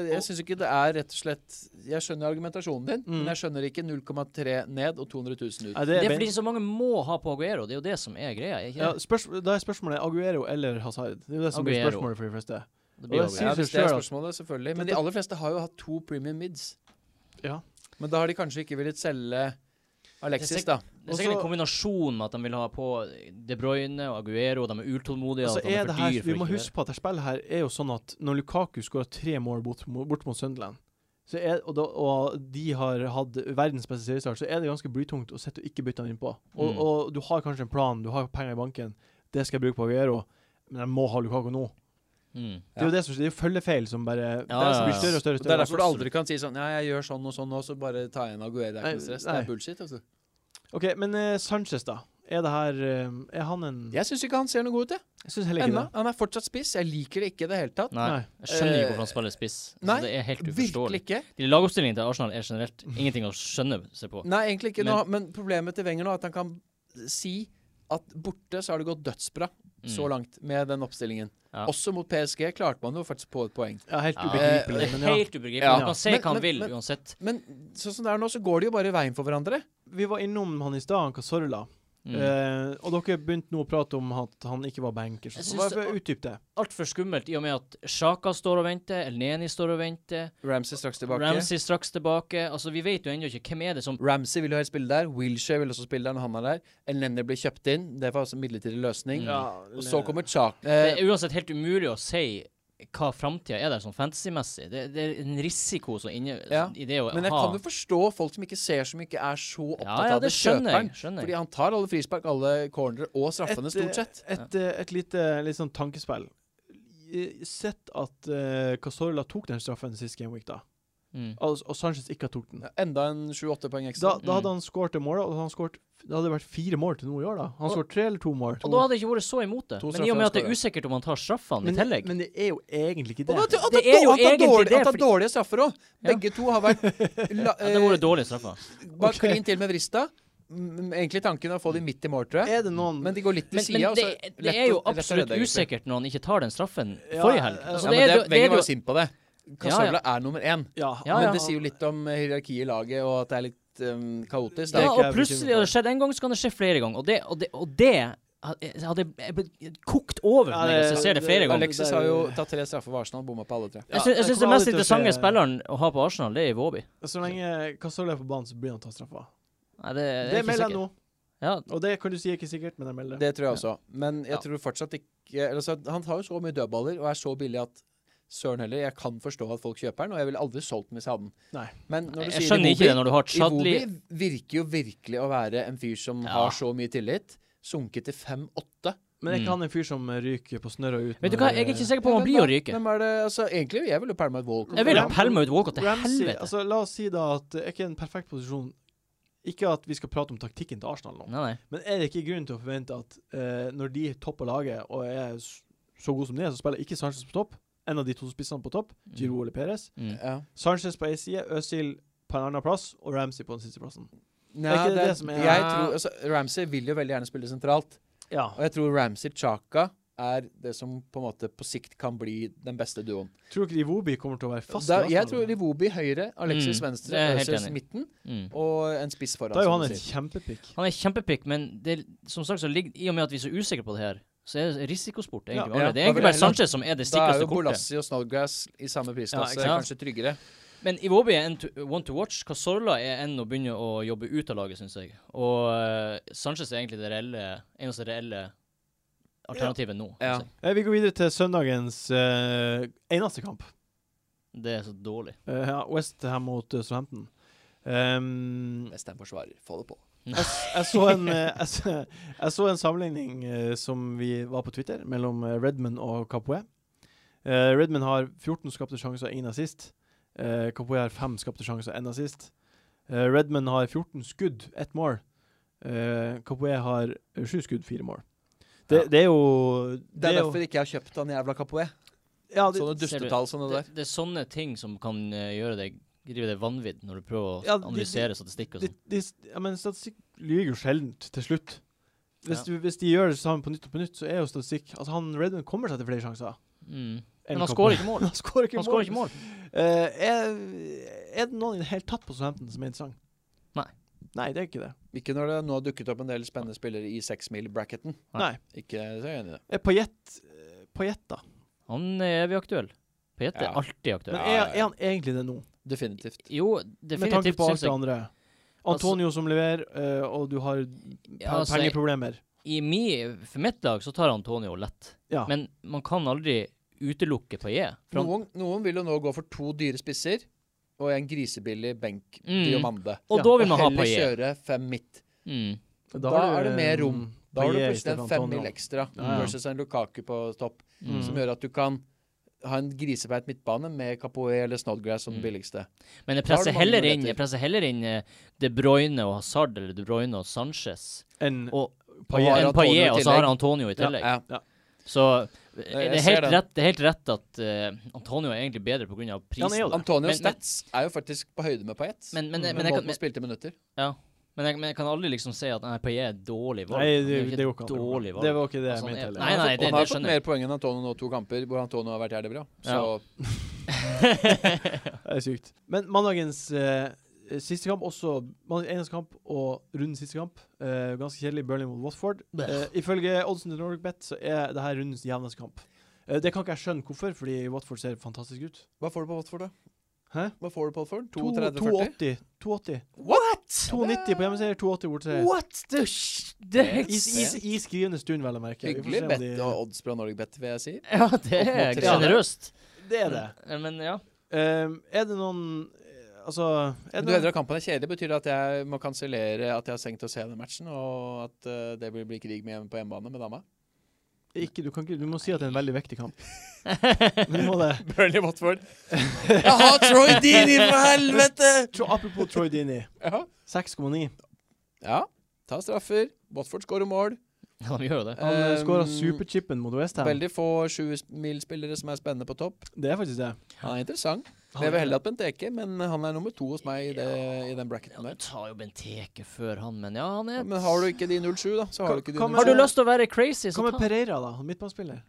Jeg syns ikke det er rett og slett Jeg skjønner argumentasjonen din,
Mm.
men jeg skjønner ikke 0,3 ned og 200 000 ut.
Nei,
Det er
ben-
fordi så mange må ha på Aguero. Det er jo det som er greia. er ikke
ja,
det?
spørs, Da er spørsmålet Aguero eller Hazard. Det er jo det som blir
Aguero.
spørsmålet for de fleste.
Det blir jo
og det
Aguero.
sier-
Ja,
seg
hvis det er
selv at-
spørsmålet, selvfølgelig. Men de aller fleste har jo hatt to premium mids.
Ja.
Men da har de kanskje ikke villet selge
Det
Alexis,
er
da.
Det er
Også-
sikkert en kombinasjon med at de vil ha på De Bruyne og Aguero. og De er utålmodige.
Altså
og at
er
de
det
er for
her,
dyr for
Vi må
ikke å
huske på at det spillet her er jo sånn at når Lukaku skåra tre mål bort, mo- bort mot Sunderland, så er, og, da, og de har hatt verdens beste seriestart, så er det ganske blytungt å sitte og ikke bytte han innpå. Og,
Mm.
og du har kanskje en plan, du har penger i banken, det skal jeg bruke på Aguero, men jeg må ha Lukaku nå.
være. Mm.
Det er jo det som, det er jo følgefeil som bare Det er
ja,
det som blir
ja.
større og større. og
Det er
større.
derfor du aldri kan si sånn Nei, jeg gjør sånn og sånn nå, så bare ta igjen Aguero. Det er
Nei,
ikke noe stress. Det
nei.
er bullshit. Altså.
OK, men eh, Sanchez, da. Er det her eh, Er han en
Jeg syns ikke han ser noe god ut, jeg.
Jeg syns heller ikke
Ennå.
det.
Han er fortsatt spiss. Jeg liker det ikke i det hele tatt.
Nei.
Nei.
Jeg skjønner ikke
Eh,
hvorfor han spiller spiss.
nei,
Altså, det er helt uforståelig.
Virkelig ikke.
De Lagoppstillingen til Arsenal er generelt
Mm.
ingenting å skjønne seg på.
Nei, egentlig ikke.
Men-
Nå, men problemet til Wenger nå er at han kan si at borte så har det gått dødsbra
Mm.
så langt med den oppstillingen.
Ja.
Også mot PSG klarte man jo faktisk på et poeng.
Ja, helt
Ja, Eh,
ubegripelig,
det er
men ja.
helt ubegripelig.
Ja.
Han kan si
Men-
hva han
men-
vil,
men-
uansett.
Men sånn som det er nå, så går de jo bare veien for hverandre.
Vi var innom han i stad, han Casorla.
Mm.
Eh, og dere begynte nå å prate om at han ikke var bankers.
Jeg
Så
syns
bare
det-
for å utdype det.
Altfor skummelt i og med at Sjaka står og venter, Elneni står og venter,
Ramsey straks tilbake. Ramsey,
Ramsey straks tilbake. Altså, vi vet jo ennå ikke hvem er det som
vil jo helst spille der. Wilshere vil også spille der når han er der. El Nenner blir kjøpt inn. Det var også en midlertidig løsning.
Mm. Ja,
Og så kommer Chak. Eh,
Det er uansett helt umulig å si hva framtida er der sånn fantasymessig. Det, det er en risiko som inne
Ja,
i det å
men jeg
ha
kan jo forstå folk som ikke ser, som ikke er så
Ja,
opptatt
ja,
av
det
det.
skjønner
Kjøperen.
jeg. Skjønner
Fordi
jeg.
han tar alle frispark, alle cornere og straffene,
eh,
stort sett.
Et, eh, et lite litt sånn tankespill. I- Sett at uh, Casorla tok den straffen sist Game Week, da.
Mm.
Og, og Sanchez ikke har tok den.
Ja, Enda en sju-åtte poeng ekstra.
eh, Da,
Mm.
da hadde han skåret det målet, og han skåret, det hadde vært fire mål til nå i år, da. Han
Og-
skåret tre eller to mål.
Og da hadde jeg ikke vært så imot det.
To
Men i og med at det
straffer,
er usikkert om han tar straffene Mm. i
men,
tillegg
men det er jo egentlig ikke
Og at,
det.
Det
at, det
er jo
at, det er
egentlig
dårlig,
det,
at det er
fordi-
dårlige straffer òg.
Ja.
Begge to
(laughs)
har vært la,
ja, Det hadde vært dårlige straffer.
Bare
Ok.
klin til med vrista. Mm, Egentlig tanken er å få de midt i mål, tror jeg.
Er det noen
Men de går litt til
Men, men
sida.
det, det er jo absolutt usikkert når han ikke tar den straffen
Ja,
forrige helg.
ja,
Altså, det,
Ja, men
er,
det,
jo- det
Wenger
er
var
jo
jo sint på det.
Ja,
Casola
ja.
er nummer én.
Ja.
Ja, ja.
Men det sier jo litt om eh, hierarkiet i laget, og at det er litt um, kaotisk.
Det
Ja,
er
Da.
ikke
og
jeg
plutselig
bekymret
har det skjedd en gang, så kan det skje flere ganger. Og det, og det, og det hadde jeg ble kokt over
Ja,
for meg hvis
det-
jeg ser det flere
det-
ganger.
Alexis har jo tatt tre straffer for Arsenal, bomma på alle tre.
Ja,
Jeg syns,
jeg
jeg syns
kommer
den mest
aldri til å
interessante
se-
spilleren å ha på Arsenal, det er Iwobi.
Så lenge Casorla er på banen, så blir han tatt straffa.
Nei, det, jeg
Det
er ikke
melder jeg
sikker.
nå.
Ja,
Og det kan du si er ikke sikkert, men jeg melder det.
Det tror jeg også. Men jeg
Ja.
tror fortsatt ikke altså, Han tar jo så mye dødballer og er så billig at søren heller, jeg kan forstå at folk kjøper den, og jeg ville aldri solgt den hvis jeg hadde den.
Nei.
Men når du
jeg
sier
skjønner
Iwobi-
ikke det når du har Chadli
Iwobi virker jo virkelig å være en fyr som
Ja.
har så mye tillit. Sunket til 5-8.
Men er
Mm.
ikke han en fyr som eh, ryker på snørra ut?
Vet du
når,
hva, jeg er
eh,
ikke sikker på om han
Hvem
blir å
da?
ryke.
Hvem er det Altså, egentlig jeg ville pælma et Walcott.
Jeg vil ha
Ram-
pælma ut Walcott til
Ramsey,
helvete.
altså La oss si da at det er ikke en perfekt posisjon Ikke at vi skal prate om taktikken til Arsenal nå,
Nei, nei.
men er det ikke grunn til å forvente at eh, når de topper laget og er s- så gode som de er, så spiller ikke Sanchez på topp. En av de to spissene på topp, Giroud eller Perez.
Mm.
Ja.
Sanchez på ei side, Øzil på en annen plass og Ramsey på den siste plassen.
Nei,
Er ikke det
det,
det som er-
jeg tror, altså, Ramsey vil jo veldig gjerne spille sentralt,
Ja.
og jeg tror Ramsey Chaka er det som på en måte på sikt kan bli den beste duoen.
Tror du ikke Iwobi kommer til å være fast?
Da,
i
jeg
Arsenal?
tror Livobi høyre,
Mm, det
Alexis venstre,
er jeg helt enig
Øzils
i.
midten
Mm.
og en spiss foran.
da er jo
som
han
du
et
sier.
kjempepick.
Han er kjempepick, men det, som sagt, så ligger, i og med at vi er så usikre på det her, så er det risikosport
Ja,
egentlig. med alle.
ja.
Det
Da
er
vil
egentlig
jeg
bare
heller-
Sanchez som er det
Da er
sikreste
jo
kortet.
Bolassi og Snodgrass i samme prisklasse,
Ja,
ikke
kanskje tryggere.
Men Iwobi er en to, one to watch. Casorla er en å begynne å jobbe ut av laget, syns jeg. Og eh, Sanchez er egentlig det reelle, eneste reelle alternativet nå.
Ja.
synes jeg.
Eh, vi går videre til søndagens eh, eneste kamp.
Det er så dårlig.
Uh, West her mot eh, Southampton. Um,
Best en forsvarer. Få det på.
Jeg, s- jeg, så en, eh, jeg, s- jeg så en sammenligning eh, som vi var på Twitter, mellom eh, Redman og Capoe. Eh, Redman har 14 skapte sjanser og én assist. Uh, Capoe har 5 skapte sjanser og én assist. Eh, Redman har 14 skudd, ett mål. Uh, Capoe har 7 skudd, 4 mål. Det,
Ja.
det er jo
Det er
jo-
derfor ikke jeg har kjøpt han jævla Capoe.
ja, det,
Sånne
Ser du-
dustetall som det
Det,
der.
det er sånne ting som kan eh, gjøre deg drive deg vanvidd når du prøver å
Ja, de-
analysere statistikk og
de,
sånn.
de, ja, men statistikk lyver jo sjelden til slutt. Hvis,
Ja.
du, hvis de gjør det sammen på nytt og på nytt, så er jo statistikk Altså, han Redman kommer seg til flere sjanser.
Mm.
enn
Men han
Cowboy.
skårer ikke mål.
(laughs) Han skårer ikke
Han
mål.
skårer ikke mål.
Eh, er, er det noen i det hele tatt på Southampton som er interessant?
Nei.
Nei, det er ikke det.
Ikke når det nå har dukket opp en del spennende spillere i seksmil-bracketen.
Nei.
Nei.
Ikke så enig i det.
Er Pajett eh, Payet, da.
Han eh, er evig aktuell. Pete
Ja.
er alltid
Men
aktuell.
er,
ja,
er
ja.
han egentlig det nå?
Definitivt.
Jo,
Med tanke
definitivt
på alt
syns
det
jeg
andre. Antonio som leverer, eh, og du har pe-
Ja, altså, jeg-
pengeproblemer.
i mi, For mitt lag så tar Antonio lett.
Ja.
Men man kan aldri utelukke Paillet. For han-
Noen, noen vil jo nå gå for to dyre spisser og en grisebillig benk
Mm.
diamande.
Og
Ja,
da vil
Og
man ha
heller
Paillet.
kjøre fem midt.
Mm.
Da,
har
er
du,
det mer
eh,
rom. Da har du
Payet
plutselig en
istedenfor
femmil
Antonio.
ekstra
Ja, ja.
versus en Lukaku på topp,
Mm.
som gjør at du kan ha en grisebeit midtbane med Capoe eller Snodgrass som den
Mm.
billigste.
Men jeg
Da har du
presser
mange
heller inn
muligheter.
Jeg presser heller inn eh, De Bruyne og Hazard eller De Bruyne og Sanchez.
Enn
Og
Og har
Payet.
en
Antonio i
Paillet, og så har
tillegg.
Antonio i tillegg.
Ja.
Så eh,
jeg
det er,
ser
helt
den.
rett, det er helt rett at eh, Antonio er egentlig bedre pga.
Ja, han er jo
prisen.
det.
Antonio
Men- men-
Stats er jo faktisk på høyde med Paet.
Men, men, men,
Men
jeg
måten
kan,
man spilte minutter.
ja. men, jeg, men jeg kan aldri liksom si at nei, Paillet er et dårlig valg.
Nei, det,
Han er jo ikke
det går
et
ikke an.
dårlig valg.
Det var ikke det jeg
Altså, han
mente
er-
heller.
Nei,
han har
nei,
fått,
det-
han har
det
fått
skjønner
mer
jeg.
poeng enn Antonio nå to kamper, hvor Antonio har vært jævlig bra. Så
Det er sykt. Men mandagens eh, siste kamp også mandagens eneste kamp og rundens siste kamp. eh, ganske kjedelig Burnley mot Watford.
Bæh.
Eh, ifølge oddsen til Nordic Bet så er det her rundens jevneste kamp. Eh, det kan ikke jeg skjønne hvorfor, fordi Watford ser fantastisk ut.
hva får du på Watford, da?
Hæ?
Hva får du på Watford?
To-
2.30-40?
2,80. 2,80.
What?!
2,90 på hjemmeseier, 2,80 bortseier.
What?! Det er sj- (laughs) det er
(laughs)
helt
I, i,
sykt.
I skrivende stund, vel å merke. Vi får
Hyggelig
se om
bet
de-
og odds fra Norge bet, vil jeg si.
Ja, det
Opp mot
er
tre.
sjenerøst.
Det er det.
Men, men ja. (laughs)
Um, er det noen eh, Altså er det
Men du
noen-
hevder at kampen er kjedelig. Betyr det at jeg må kansellere at jeg har tenkt å se den matchen, og at eh, det vil bli krig med hjemme på hjemmebane med dama? (laughs)
ikke, du, kan ikke, du må si at det er en veldig viktig kamp. Du må det.
Burnley Watford. jeg har Troy Dini, for helvete!
Tro, apropos Troy Dini.
Ja.
6,9.
ja. Ta straffer. Watford skårer mål.
Han gjør jo det.
Han um,
Um,
skåra superchipen mot Westham.
Veldig få sjuemilsspillere som er spennende på topp.
Det er faktisk det.
Han er interessant.
Han-
Jeg vil heller hatt Benteke, men han er nummer to hos meg i, det, i den
Ja,
bracketen
du
der.
tar jo Benteke før han, men ja, han er
Men har du ikke de 07, da, så har du ikke de
Kan- kan
Har du
Men-
07.
lyst til å være crazy, så
Hva med
ta
Pereira, da? Han Midtbanespiller.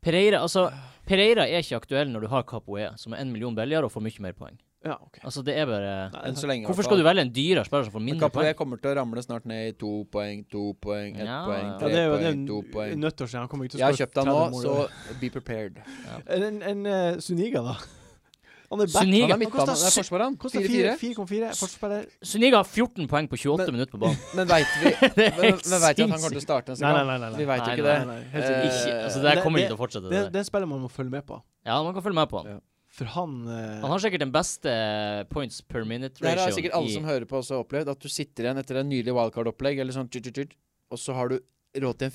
Pereira. Altså, Pereira er ikke aktuell når du har Capoe, som er en million billigere og får mye mer poeng.
Ja, OK.
Altså, det er bare
Nei,
Enn så lenge, i hvert
Hvorfor
fall.
skal du velge en dyrere spiller som får
Men
mindre
Capoe
poeng?
kommer til å ramle snart ned i to poeng, to poeng, ett
Ja.
poeng,
ja,
tre
det er jo det er
poeng, to
n-
poeng.
nøttårsdag. Han kommer ikke til
Jeg
å
har kjøpt han nå,
30 mål i
så
år.
be prepared.
En, en, en eh, Suniga, da? Han er back.
Suniga
Han er
koster
midtbane, det er
sy-
forsvaret han.
Koster
4-4.
4,4. Forsvarsspiller.
Suniga har 14 poeng på 28
Men-
minutter på banen.
Men veit vi
Det er
(laughs) men,
helt
men vet vi at han kommer til
sinnssykt.
å starte neste
Nei, nei,
gang?
nei. nei,
Vi
nei.
veit
Nei,
ikke
nei,
det.
nei, nei. Helt
Eh,
sikkert.
Ikke, altså, det
det-
her kommer
det-
ikke til å fortsette.
Det,
Det. der.
det er en spiller man må følge med på.
Ja, man kan følge med på han.
Ja.
For han eh,
Han har sikkert den beste eh, points per minute
Det her har
ratioen
sikkert alle som
i
hører på, også opplevd. At du sitter igjen etter en nylig wildcard-opplegg, eller sånn, tjut, tjut, tjut, og så har du råd til en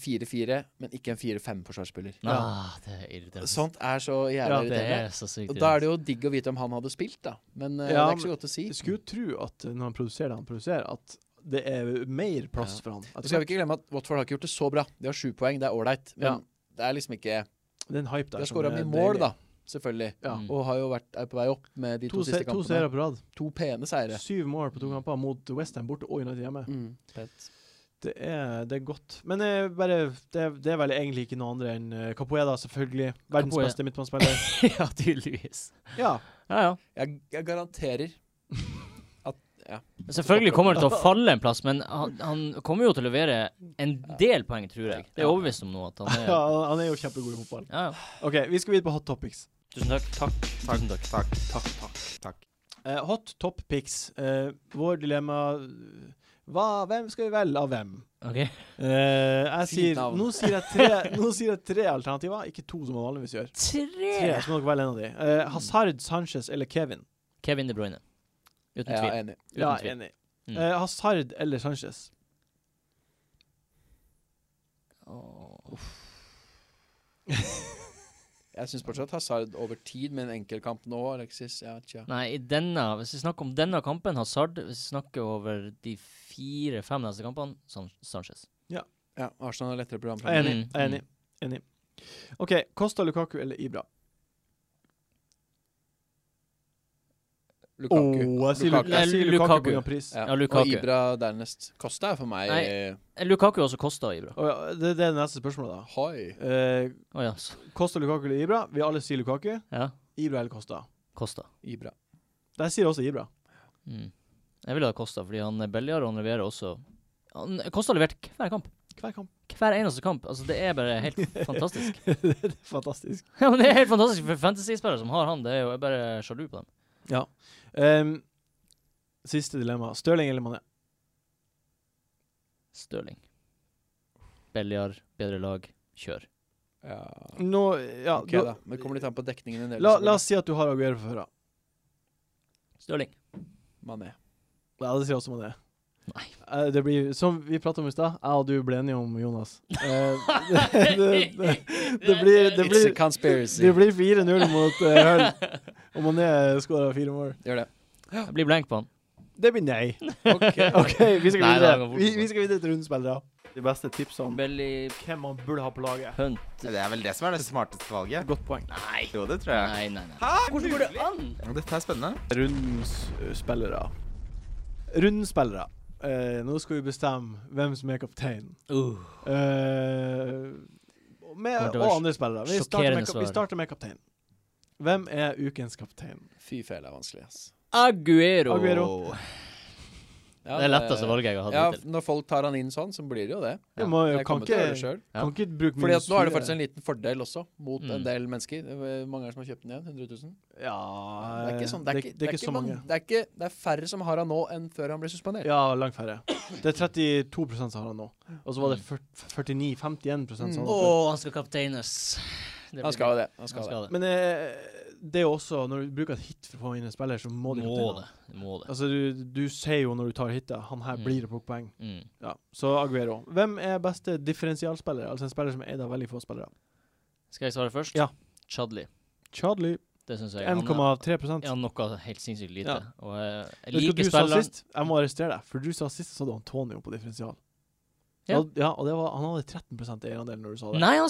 4-4, men ikke en 4-5-forsvarsspiller.
Ah, det er irriterende.
Sånt Sånn er så
Ja,
jævlig
Det
irriterende.
er så sykt.
Og da er det jo digg å vite om han hadde spilt, da. Men eh, det
Ja,
er ikke så godt å si.
Jeg skulle jo tro at eh, når han produserer det han produserer, at det er mer plass
Ja.
for han.
Så
At
skal vi ikke glemme at Watford har ikke gjort det så bra. De har sju poeng, det er ålreit. Men
Ja.
det er liksom ikke
det er sånn, eh, en hype
De
der.
har
som
skåra
er
mye
deilig.
mål, da. Selvfølgelig.
Ja.
Mm.
Og har jo vært er på vei opp med de to,
To, se,
siste
to
kampene.
seere på rad.
To pene seire.
Syv mål på to kamper mot Westham borte og United hjemme.
Mm. Fett.
Det er, det er godt. Men eh, bare, det, er- det er vel egentlig ikke noe andre enn eh, Capoe, da, selvfølgelig. Verdens
Capoe.
beste
(laughs)
midtbanespiller.
Mm. (laughs) ja, tydeligvis.
ja.
Ja, ja.
Jeg, jeg garanterer
Selvfølgelig kommer det
(laughs)
til å falle en plass, men han, han kommer jo til å levere en del poeng, tror jeg. Det er jeg overbevist om nå at han er
ja, han er jo kjempegod i fotball.
Ja, ja.
OK, vi skal videre på hot topics.
Tusen takk. Takk. Tusen takk.
Eh, hot top pics. Eh, vår dilemma eh, hva, Hvem skal vi velge av hvem?
OK.
Eh, jeg
Fint
sier,
navn.
nå, sier jeg tre, nå sier jeg tre alternativer, ikke to som man vanligvis gjør.
Tre!
Tre, så må dere velge en av de. Eh, Hazard, Sanchez eller Kevin.
Kevin De Bruyne. Uten
Jeg
tvil.
er enig.
Uten
Ja,
tvil.
enig.
Mm.
Eh, Hazard eller Sanchez?
Åh.
Jeg syns fortsatt Hazard over tid med en enkelkamp nå, Alexis. Ja, tja.
Nei, i denne, hvis vi snakker om denne kampen, Hazard Hvis vi snakker over de fire-fem neste kampene, San Sanchez.
ja Arsenal har lettere program
Jeg er
framover.
enig.
Mm,
Jeg er enig.
mm.
enig. OK, Costa Lukaku eller Ibra? Åh,
Lukaku.
jeg sier
Lukaku.
Lukaku, jeg sier Lukaku.
Lukaku.
på grunn av pris.
Ja.
Ja, Lukaku.
Og Ibra dernest. Kosta er for meg
Nei.
eh,
Eh, Lukaku også kosta Ibra. Å
Og ja, det, det er det neste spørsmålet,
Hoi.
da. Eh,
ja, så,
Costa Lukaku eller Ibra? Vi alle sier Lukaku.
ja.
Ibra eller Costa?
Kosta.
Ibra.
Der sier også Ibra.
Mm. Jeg ville ha Kosta, fordi han er billigere, og han leverer også han, Kosta har levert hver kamp.
Hver kamp.
Hver eneste kamp. Altså, det er bare
(laughs)
helt fantastisk.
det er fantastisk.
ja, men Det er helt fantastisk for fantasy-spillere som har han. Det er jo, Jeg er bare sjalu på dem.
Ja. Ehm, siste dilemma. Stirling eller Mané?
Stirling. Billigere, bedre lag. Kjør.
Ja.
Nå, ja,
Ok,
nå-
da. Men det kommer litt an på dekningen en del.
la, la oss si at du har Aguero fra før av.
Stirling.
Mané.
Ja, det sier også Mané.
Nei.
Eh, det blir, som vi prata om i stad, jeg og du ble enige om Jonas. Eh, (laughs) det, det, det, det blir, det
It's a
blir,
conspiracy.
det blir 4-0 mot uh, (laughs) Hull, og Mané skåra fire mål.
Gjør det.
Jeg blir blank på han.
Det blir nei.
Ok.
(laughs)
OK, vi skal
Nei, det
videre.
går fort.
Vi, vi skal videre til rundspillere. De beste tipsene om
Belly
hvem man burde ha på laget.
punt.
Det er vel det som er det smarteste valget.
Godt poeng.
Nei.
Jo, det tror jeg.
Nei, nei, nei. Hæ? Hvordan går det an?
Og Dette er spennende.
Rundens eh, spillere. Rundens spillere. Eh, nå skal vi bestemme hvem som er kaptein.
Uh,
Eh,
Kommer
med,
til å
og
være
andre spillere. Vi starter, med,
sjokkerende
kap- vi
svar.
starter med kaptein. Hvem er ukens kaptein?
Fy fele er vanskelig, ass.
Aguero.
Aguero.
Ja,
det er altså, letteste valget jeg har hatt
Ja,
hittil.
når folk tar han inn sånn, så blir det jo det.
Vi må jo
Jeg
kan
kommer til å gjøre det
ikke,
selv.
Ja.
kan ikke bruke
Fordi at nå er det
fire.
faktisk en liten fordel også, mot
Mm.
en del mennesker. Det er mange som har kjøpt den igjen. 100 000.
Ja
Det er ikke, sånn, det er ikke,
det er ikke så mange.
Det er, ikke, det er færre som har han nå enn før han ble suspendert.
Ja, langt færre. Det er 32 som har han nå. Og så var det 49-51 som
Mm.
har han
Å,
før.
han skal kapteines. Det blir-
Han skal jo det. Han
Han
skal det.
skal det.
Men eh, det er jo også Når du bruker et hit for å få inn en spiller, så må
Må
du
det.
kapteinen.
Må det.
Altså, du, du ser jo når du tar hitet, han her
Mm.
blir det på poeng.
Mm.
Ja. Så Aguero. Hvem er beste differensialspiller? Altså en spiller som er eid av veldig få spillere.
Skal jeg svare først?
Ja.
Chadli.
Chadley,
Det eh, syns
1,3
jeg. Han er- er
ja,
han noe helt sinnssykt lite.
Ja.
Og jeg,
Vet
jeg
du hva
liker
du sa
spilleren.
sist? Jeg må arrestere deg, for du sa sist så hadde Antonio på differensial.
Ja.
Ja, ja og det var, han hadde 13 eierandel når du sa det.
Nei, han har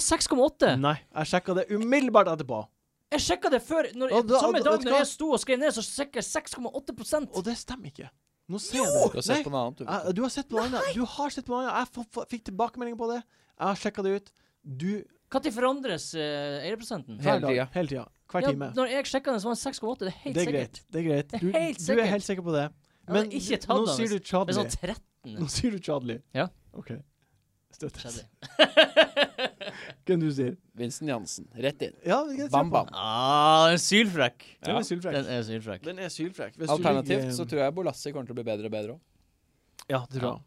(laughs)
6,8!
Nei, jeg sjekka det umiddelbart etterpå.
Jeg sjekka det før. Når,
Og da-
samme
og-
dag
vet du
når
hva?
jeg sto og skrev ned, så sjekka jeg 6,8
Og det stemmer ikke. Nå ser jeg det.
Du har sett på noe annet, du.
Jeg- Du har sett på noe annet. Du har sett på noe annet. Jeg f f fikk tilbakemelding på det. Jeg har sjekka det ut. Du
Når forandres eh, eierprosenten?
Hver
Hele
dag.
tida.
Hele tida. Hver
Ja,
time.
når jeg sjekka den, så var den 6,8. Det er helt
Det er
sikkert.
greit. Det er greit.
Det er
Du,
helt
du er
sikkert.
helt sikker på det.
Ja,
Men
det er ikke
du-
tatt
nå
av,
sier du
Det
Chadli.
er sånn 13.
Nå sier du Chadli.
Ja.
OK. Støttes.
Chadli.
(laughs) Hvem du sier?
Vincent Jansen. Rett inn.
Ja, vi kan se
Bam,
på
bam.
Ah, den er sylfrekk.
den. Den
Ja.
er sylfrekk.
Den er sylfrekk.
Den er sylfrekk. Hvis du ligger,
Alternativt
eh,
så tror jeg Bolassi kommer til å bli bedre og bedre òg.
Ja, det tror jeg.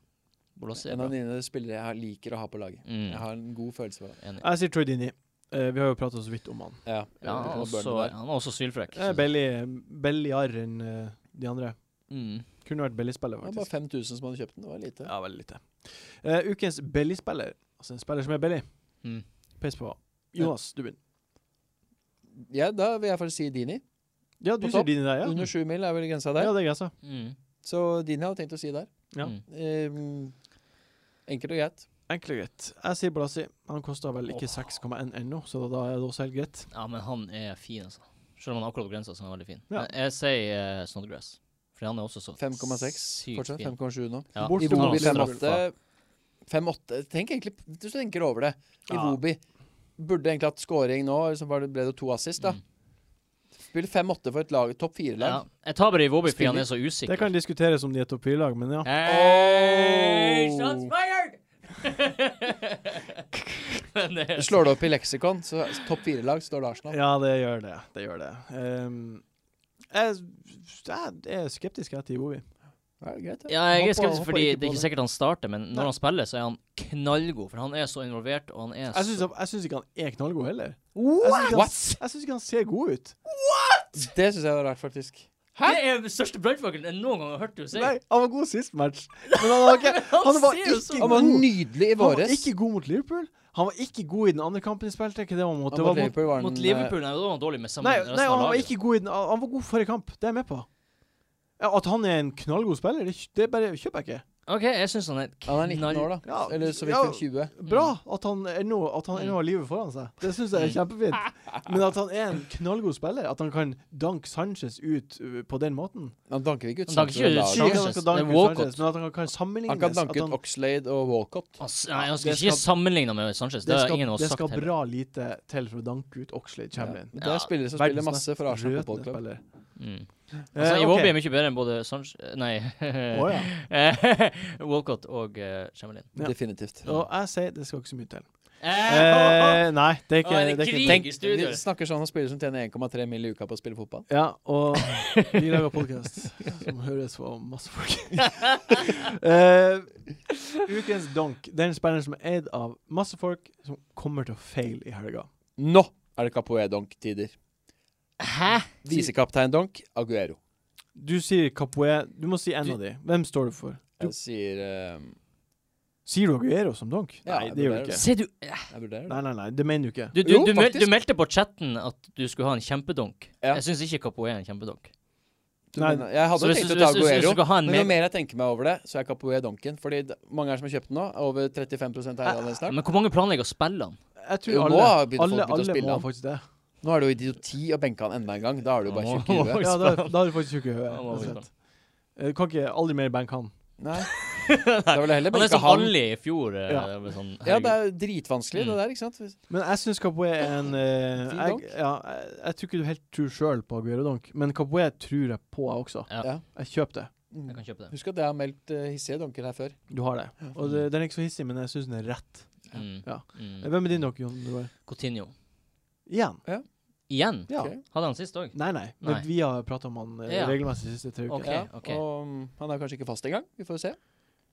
Bolasie er
En
bra.
av dine spillere jeg liker å ha på laget.
Mm.
Jeg har en god følelse for det.
Enig.
Jeg sier Troy Dini. Eh, vi har jo prata så vidt om han.
Ja,
Ja,
det
han,
var
er også,
Burnley der.
han er også sylfrekk.
Jeg er Belly, bellyar enn eh, de andre.
Mm.
Kunne vært Belly-spiller,
Det var bare
faktisk.
5000 som hadde kjøpt den. Det var lite.
Ja, veldig lite. Eh, ukens Belly-spiller, altså en spiller som er Belly,
Mm.
peis på. Jonas, du begynner.
Ja, da vil jeg faktisk si Dini.
Ja, du
På
sier
topp.
Dini der, ja.
Under sju mil er vel grensa der.
Ja, det er greit, så.
Mm.
Så Dini hadde tenkt å si der.
Ja.
Mm.
Ehm, enkelt og greit.
Enkelt og greit. Jeg sier Blasi. Han koster vel ikke 6,1 ennå, så da er det også helt greit.
Ja, men han er fin, altså. Selv om han er akkurat på grensa, så han er veldig fin.
Ja.
Men Jeg sier eh, Snodgrass. For han er også så
5,6
sykt
fortsatt.
fin.
5,7 nå.
Ja.
Bort
I
til
Bobi
Iwobi
Bobi
straffa.
5-8. 5-8 Tenk egentlig Hvis du tenker over det.
Ja.
Iwobi burde egentlig hatt scoring nå, så var det- ble det to assist, da.
Mm.
Spill 5-8 for et lag, topp
Ja.
fire-lag.
Jeg tar bare Iwobi fordi han
Spiller-
er så usikker.
Det kan diskuteres om de er topp fire-lag, men ja.
Hey,
Oh.
shots fired! (laughs) men eh, det er
Slår det opp i leksikon, så topp fire-lag står det Arsenal.
Ja, det gjør det. Det gjør det. Ehm, jeg, jeg er skeptisk jeg, til Iwobi.
Ja, greit, det.
Ja, jeg
Håper-
er skeptisk
håper
fordi
ikke på
det er ikke
det.
sikkert han starter, men
Nei.
når han spiller, så er han knallgod. For han er så involvert, og han er
Jeg syns,
så
jeg syns ikke han er knallgod heller. Jeg syns
What?!
ikke han, jeg syns ikke han ser god ut.
Det syns jeg var rart, faktisk.
Hæ?
Det er den største brannfakkelen jeg noen gang har hørt du si.
Nei, han var god sist
(laughs)
match, men han var ikke Han var
ser jo så-
ikke
Han var
god.
nydelig i
Han var
våres.
ikke god mot Liverpool. Han var ikke god i den andre kampen de spilte. Ikke det han var mot.
Han
Det
mot
var mot
Liverpool var
Mot
han,
Liverpool nei, da var han dårlig med sammen
nei,
med
nei,
resten
han
av
var
laget.
ikke god i den Han var god forrige kamp. Det er jeg med på. Ja, at han er en knallgod spiller, det, det bare kjøper jeg ikke.
OK, jeg syns han er
eh, Han er 19 år, da.
Ja,
Eller så vidt
ja.
han 20.
Mm.
Bra at han ennå at han ennå har livet foran seg. Det syns jeg er
(laughs)
kjempefint. Men at han er en knallgod spiller, at han kan danke Sanchez ut uh, på den måten
Han danker ikke ut
Han danker
Sancho i
ikke ut
laget.
Sier ikke at han
Sanchez,
skal danke
det er Walcott.
Sanchez, men at han kan, kan sammenlignes.
Han kan
at
danke
han-
ut Oxlade og Walcott.
Ass, Nei, han
det
skal ikke
skal-
sammenligne med Sanchez. Det,
det
har
skal,
ingen av
det
oss
skal
sagt heller.
bra lite til for å danke ut Oxlade Chamberlain.
Det
Ja,
er spillere som
Verdens
spiller masse for
mest
Arsenal
rødende
fotballklubb.
spiller.
Mm.
Eh,
Altså, Iwobi
ok.
er mye bedre enn både Sanchez Nei. eh,
Å, ja.
(laughs) Walcott og uh, Chamberlain.
Ja.
Definitivt.
Og jeg sier det skal ikke så mye til.
Eh,
Eh, nei, det er
(laughs) Å,
ikke,
er det
det er ikke
krig?
tenk,
i studio.
Vi snakker sånn om spillere som tjener 1,3 mill. i uka på å spille fotball.
Ja, og vi lager podkast som høres på masse folk. (laughs) Eh, ukens donk. Den spilleren som er eid av masse folk, som kommer til å feile i helga.
Nå er det Capoe-donk-tider.
Hæ?
Visekaptein-donk Aguero.
Du sier Capoe. Du må si en av de. Hvem står du for? Du-
Jeg sier eh,
Sier du Aguero som donk?
Ja,
nei,
jeg
det gjør du
vurderer
ikke.
Se, du
Jeg vurderer det.
Nei, nei, nei, det mener du ikke.
Du, du,
Jo,
du, mel
faktisk.
du meldte på chatten at du skulle ha en kjempedunk.
Ja.
Jeg syns ikke Capo er en kjempedunk.
Du
Nei.
mener- Jeg hadde
Så
jo
hvis-
tenkt å ta
hvis- hvis- hvis du
Aguero,
skal ha en
men jo
mer-
mer jeg tenker meg over det, så er Capoe-donken. Fordi det- mange her som har kjøpt den nå, er over 35 av eierne snart.
Men hvor mange planlegger å spille han?
Jeg tror
Jo, nå
alle,
har begynt- folk
alle,
begynt å
alle
spille
må
han.
faktisk det.
Nå er det jo idioti å benke han enda en gang. Da er du bare
Åh.
tjukk i
(laughs)
(laughs)
huet.
Ja, da, da er du faktisk tjukk i
Ja, må vi spille.
(laughs)
huet. Du Eh, kan ikke aldri mer bank han.
Nei. Da vil jeg
Han
heller
er
benke
som
han.
Ali i fjor. eh,
Ja.
med Sånn,
Ja, det
herregud.
er dritvanskelig, det der, ikke sant? Hvis-
Men jeg syns Capoe er en eh,
Fin
jeg,
donk.
ja, jeg, jeg tror ikke du helt tror sjøl på Aguero Donk, men Capoe tror jeg på, jeg også.
Ja.
Ja.
Jeg kjøper det.
Jeg kan
Mm.
kjøpe det.
Husk at jeg har meldt eh, hissige donker her før.
Du har det. Og det, den er ikke så hissig, men jeg syns den er rett.
Mm.
Ja.
Mm.
Hvem er din donk, Jon Roar?
Coutinho.
Igjen?
Igjen?
Ja.
Ok.
Hadde han sist òg?
Nei, nei. Men
Nei.
vi har prata om han eh,
Ja.
regelmessig de siste tre ukene.
Ok,
Ja,
ok.
Og mm, han er kanskje ikke fast engang. Vi får jo se.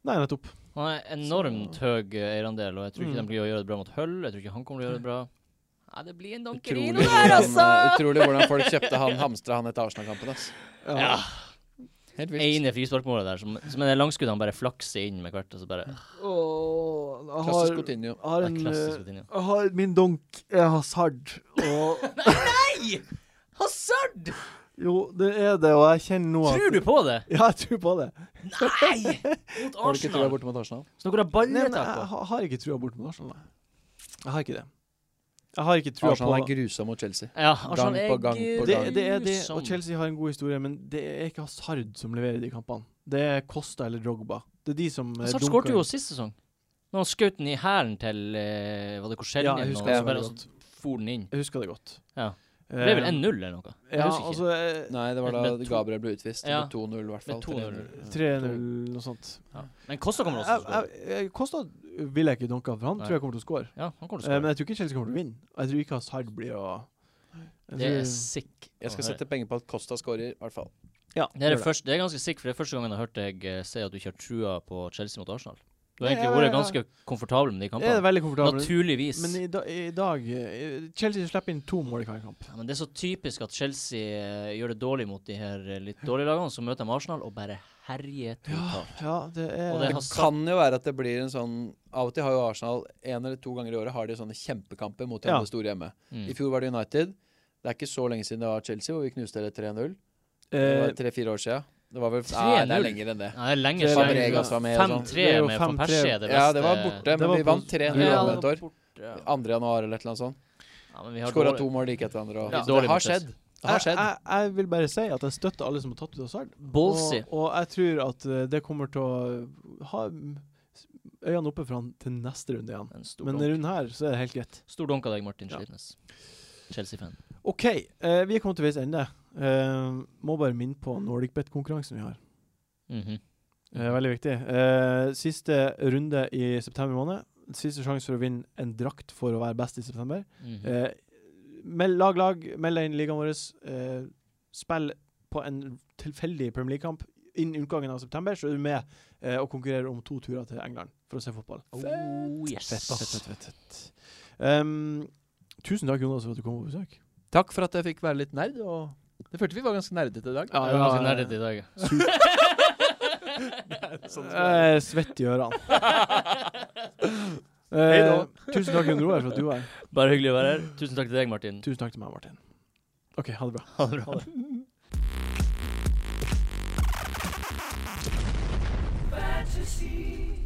Nei, nettopp.
Han er enormt høy eh, eierandel, og jeg tror ikke
Mm.
de blir å gjøre det bra mot Hull. Jeg tror ikke han kommer til å gjøre det bra. Nei, det blir en
Utrolig,
donkerino der,
hvordan,
altså!
eh, utrolig hvordan folk kjøpte han, hamstra han etter Arsenal-kampen. ass.
Ja.
Helt vilt.
Ene frisparkmålet der, som, som en langskudd han bare flakser inn med hvert. Og så bare
Og jeg
Klassisk
har,
Coutinho.
jeg har
Det er
en
klassisk
eh,
Coutinho.
jeg har min donk er Hazard,
(laughs)
og
Nei! Hazard!
jo, det er det, og jeg kjenner nå at
Tror du på det?
Ja, jeg tror på det.
(laughs) Nei! Mot
Har du ikke trua
Arsenal.
borte mot Arsenal?
Så dere
Nei,
har
men eh, jeg
balletak på.
ha- har ikke trua bort mot Arsenal, nei. Jeg har ikke det. Jeg har ikke trua
Arsenal er
på
grusom mot Chelsea.
Ja, Arsenal
Gang på gang på
er
det,
gang.
det er det,
grusom.
og Chelsea har en god historie, men det er ikke Hazard som leverer de kampene. Det er Costa eller Drogba. Det er de som eh,
Hazard
dunker.
skårte jo sist sesong. Når han skjøt den i hælen til eh, Var det
Ja,
Korseljen?
jeg
og
husker
så
det
bare
veldig
og så for den inn.
Jeg husker det godt.
Ja.
Eh,
Det ble vel 1-0 eller noe? Jeg
ja,
husker ikke.
altså eh,
Nei, det var da
Med to-
Gabriel ble utvist.
Ja.
Med 2-0, i hvert fall.
Med 2-0.
3-0.
3-0, eh, noe sånt.
Ja. Men Kosta kommer også til å
Jeg-
skåre.
jeg- jeg- Costa vil jeg ikke dunke, for han
Nei.
tror jeg kommer til å skåre.
Ja, han kommer til
Eh, Men
å skåre.
jeg tror ikke Chelsea kommer til å vinne. Og jeg tror ikke Hazard blir å Jeg
Det er
tror-
sick.
Jeg skal
å høre.
sette penger på at Costa skårer, i hvert fall.
ja,
det er,
gjør
det første, det er ganske sick, for det er første gangen jeg har hørt deg eh, si at du ikke har trua på Chelsea mot Arsenal. Du har
Ja,
egentlig
ja, ja,
vært
ja.
ganske komfortabel med de
Jeg er
kampene.
veldig komfortabel.
Naturligvis.
Men i, da, i dag eh, Chelsea slipper inn to mål i hver kamp.
Ja, men det er så typisk at Chelsea eh, gjør det dårlig mot de her eh, litt dårlige lagene, så møter de Arsenal og bare herjer totalt.
Ja, det er
Og det
Det
har satt-
kan jo være at det blir en sånn Av og til har jo Arsenal en eller to ganger i året har de sånne kjempekamper mot de
Ja.
andre store hjemme.
Mm.
I fjor var det United. Det er ikke så lenge siden det var Chelsea, hvor vi knuste det 3-0. Det
eh,
var Tre-fire år siden. Det var vel Nei, det
3-0?
er lenger enn det.
Nei, det er lenge
Det er
siden.
Fabregas
var med og sånn.
5-3
sånt.
sånn- Det er jo
med van
5-3.
Persie er det beste.
Ja, det var borte,
Det
men
var
vi vant
pos-
3-0
Ja,
om
det
et år.
borte.
2. januar eller et eller annet sånt.
Ja, men vi har
Skåra
dårlig-
to mål like etter hverandre.
Ja.
og-
Dårlig
Så Det har
mot Chelsea.
skjedd. Det har
jeg,
skjedd.
jeg, jeg vil bare si at jeg støtter alle som har tatt ut Hazard. Og,
Ballsy.
og jeg tror at eh, det kommer til å ha mm, s- øynene oppe for han til neste runde igjen.
En stor,
Men
donk.
rundt her så er det helt greit.
stor donk av deg, Martin
Ja.
Slitnes. Chelsea-fan.
OK, eh, vi er kommet til veis ende. Eh, må bare minne på NordicBet-konkurransen vi har.
Mhm.
Eh, veldig viktig. Eh, siste runde i september måned. Siste sjanse for å vinne en drakt for å være best i september.
Mm.
Mhm.
Eh, meld, lag lag, meld deg inn i ligaen vår. Eh, spill på en tilfeldig Premier League-kamp innen utgangen av september, så er du med eh, og konkurrerer om to turer til England for å se fotball.
Oh, yes.
Fett, fett, fett, fett, fett. Um, tusen takk, Jonas, for at du kom på besøk.
Takk for at jeg fikk være litt nerd og Det følte vi var ganske nerdete i dag.
Ja,
Jeg var ganske nerdete i dag. ja.
sånn
Eh, svett i ørene. (laughs)
Hei
Eh,
da.
tusen takk, Jon Roar, for at du var her.
Bare hyggelig å være her. Tusen takk til deg, Martin.
Tusen takk til meg, Martin. OK, ha det bra.
Ha det bra.
fantasy.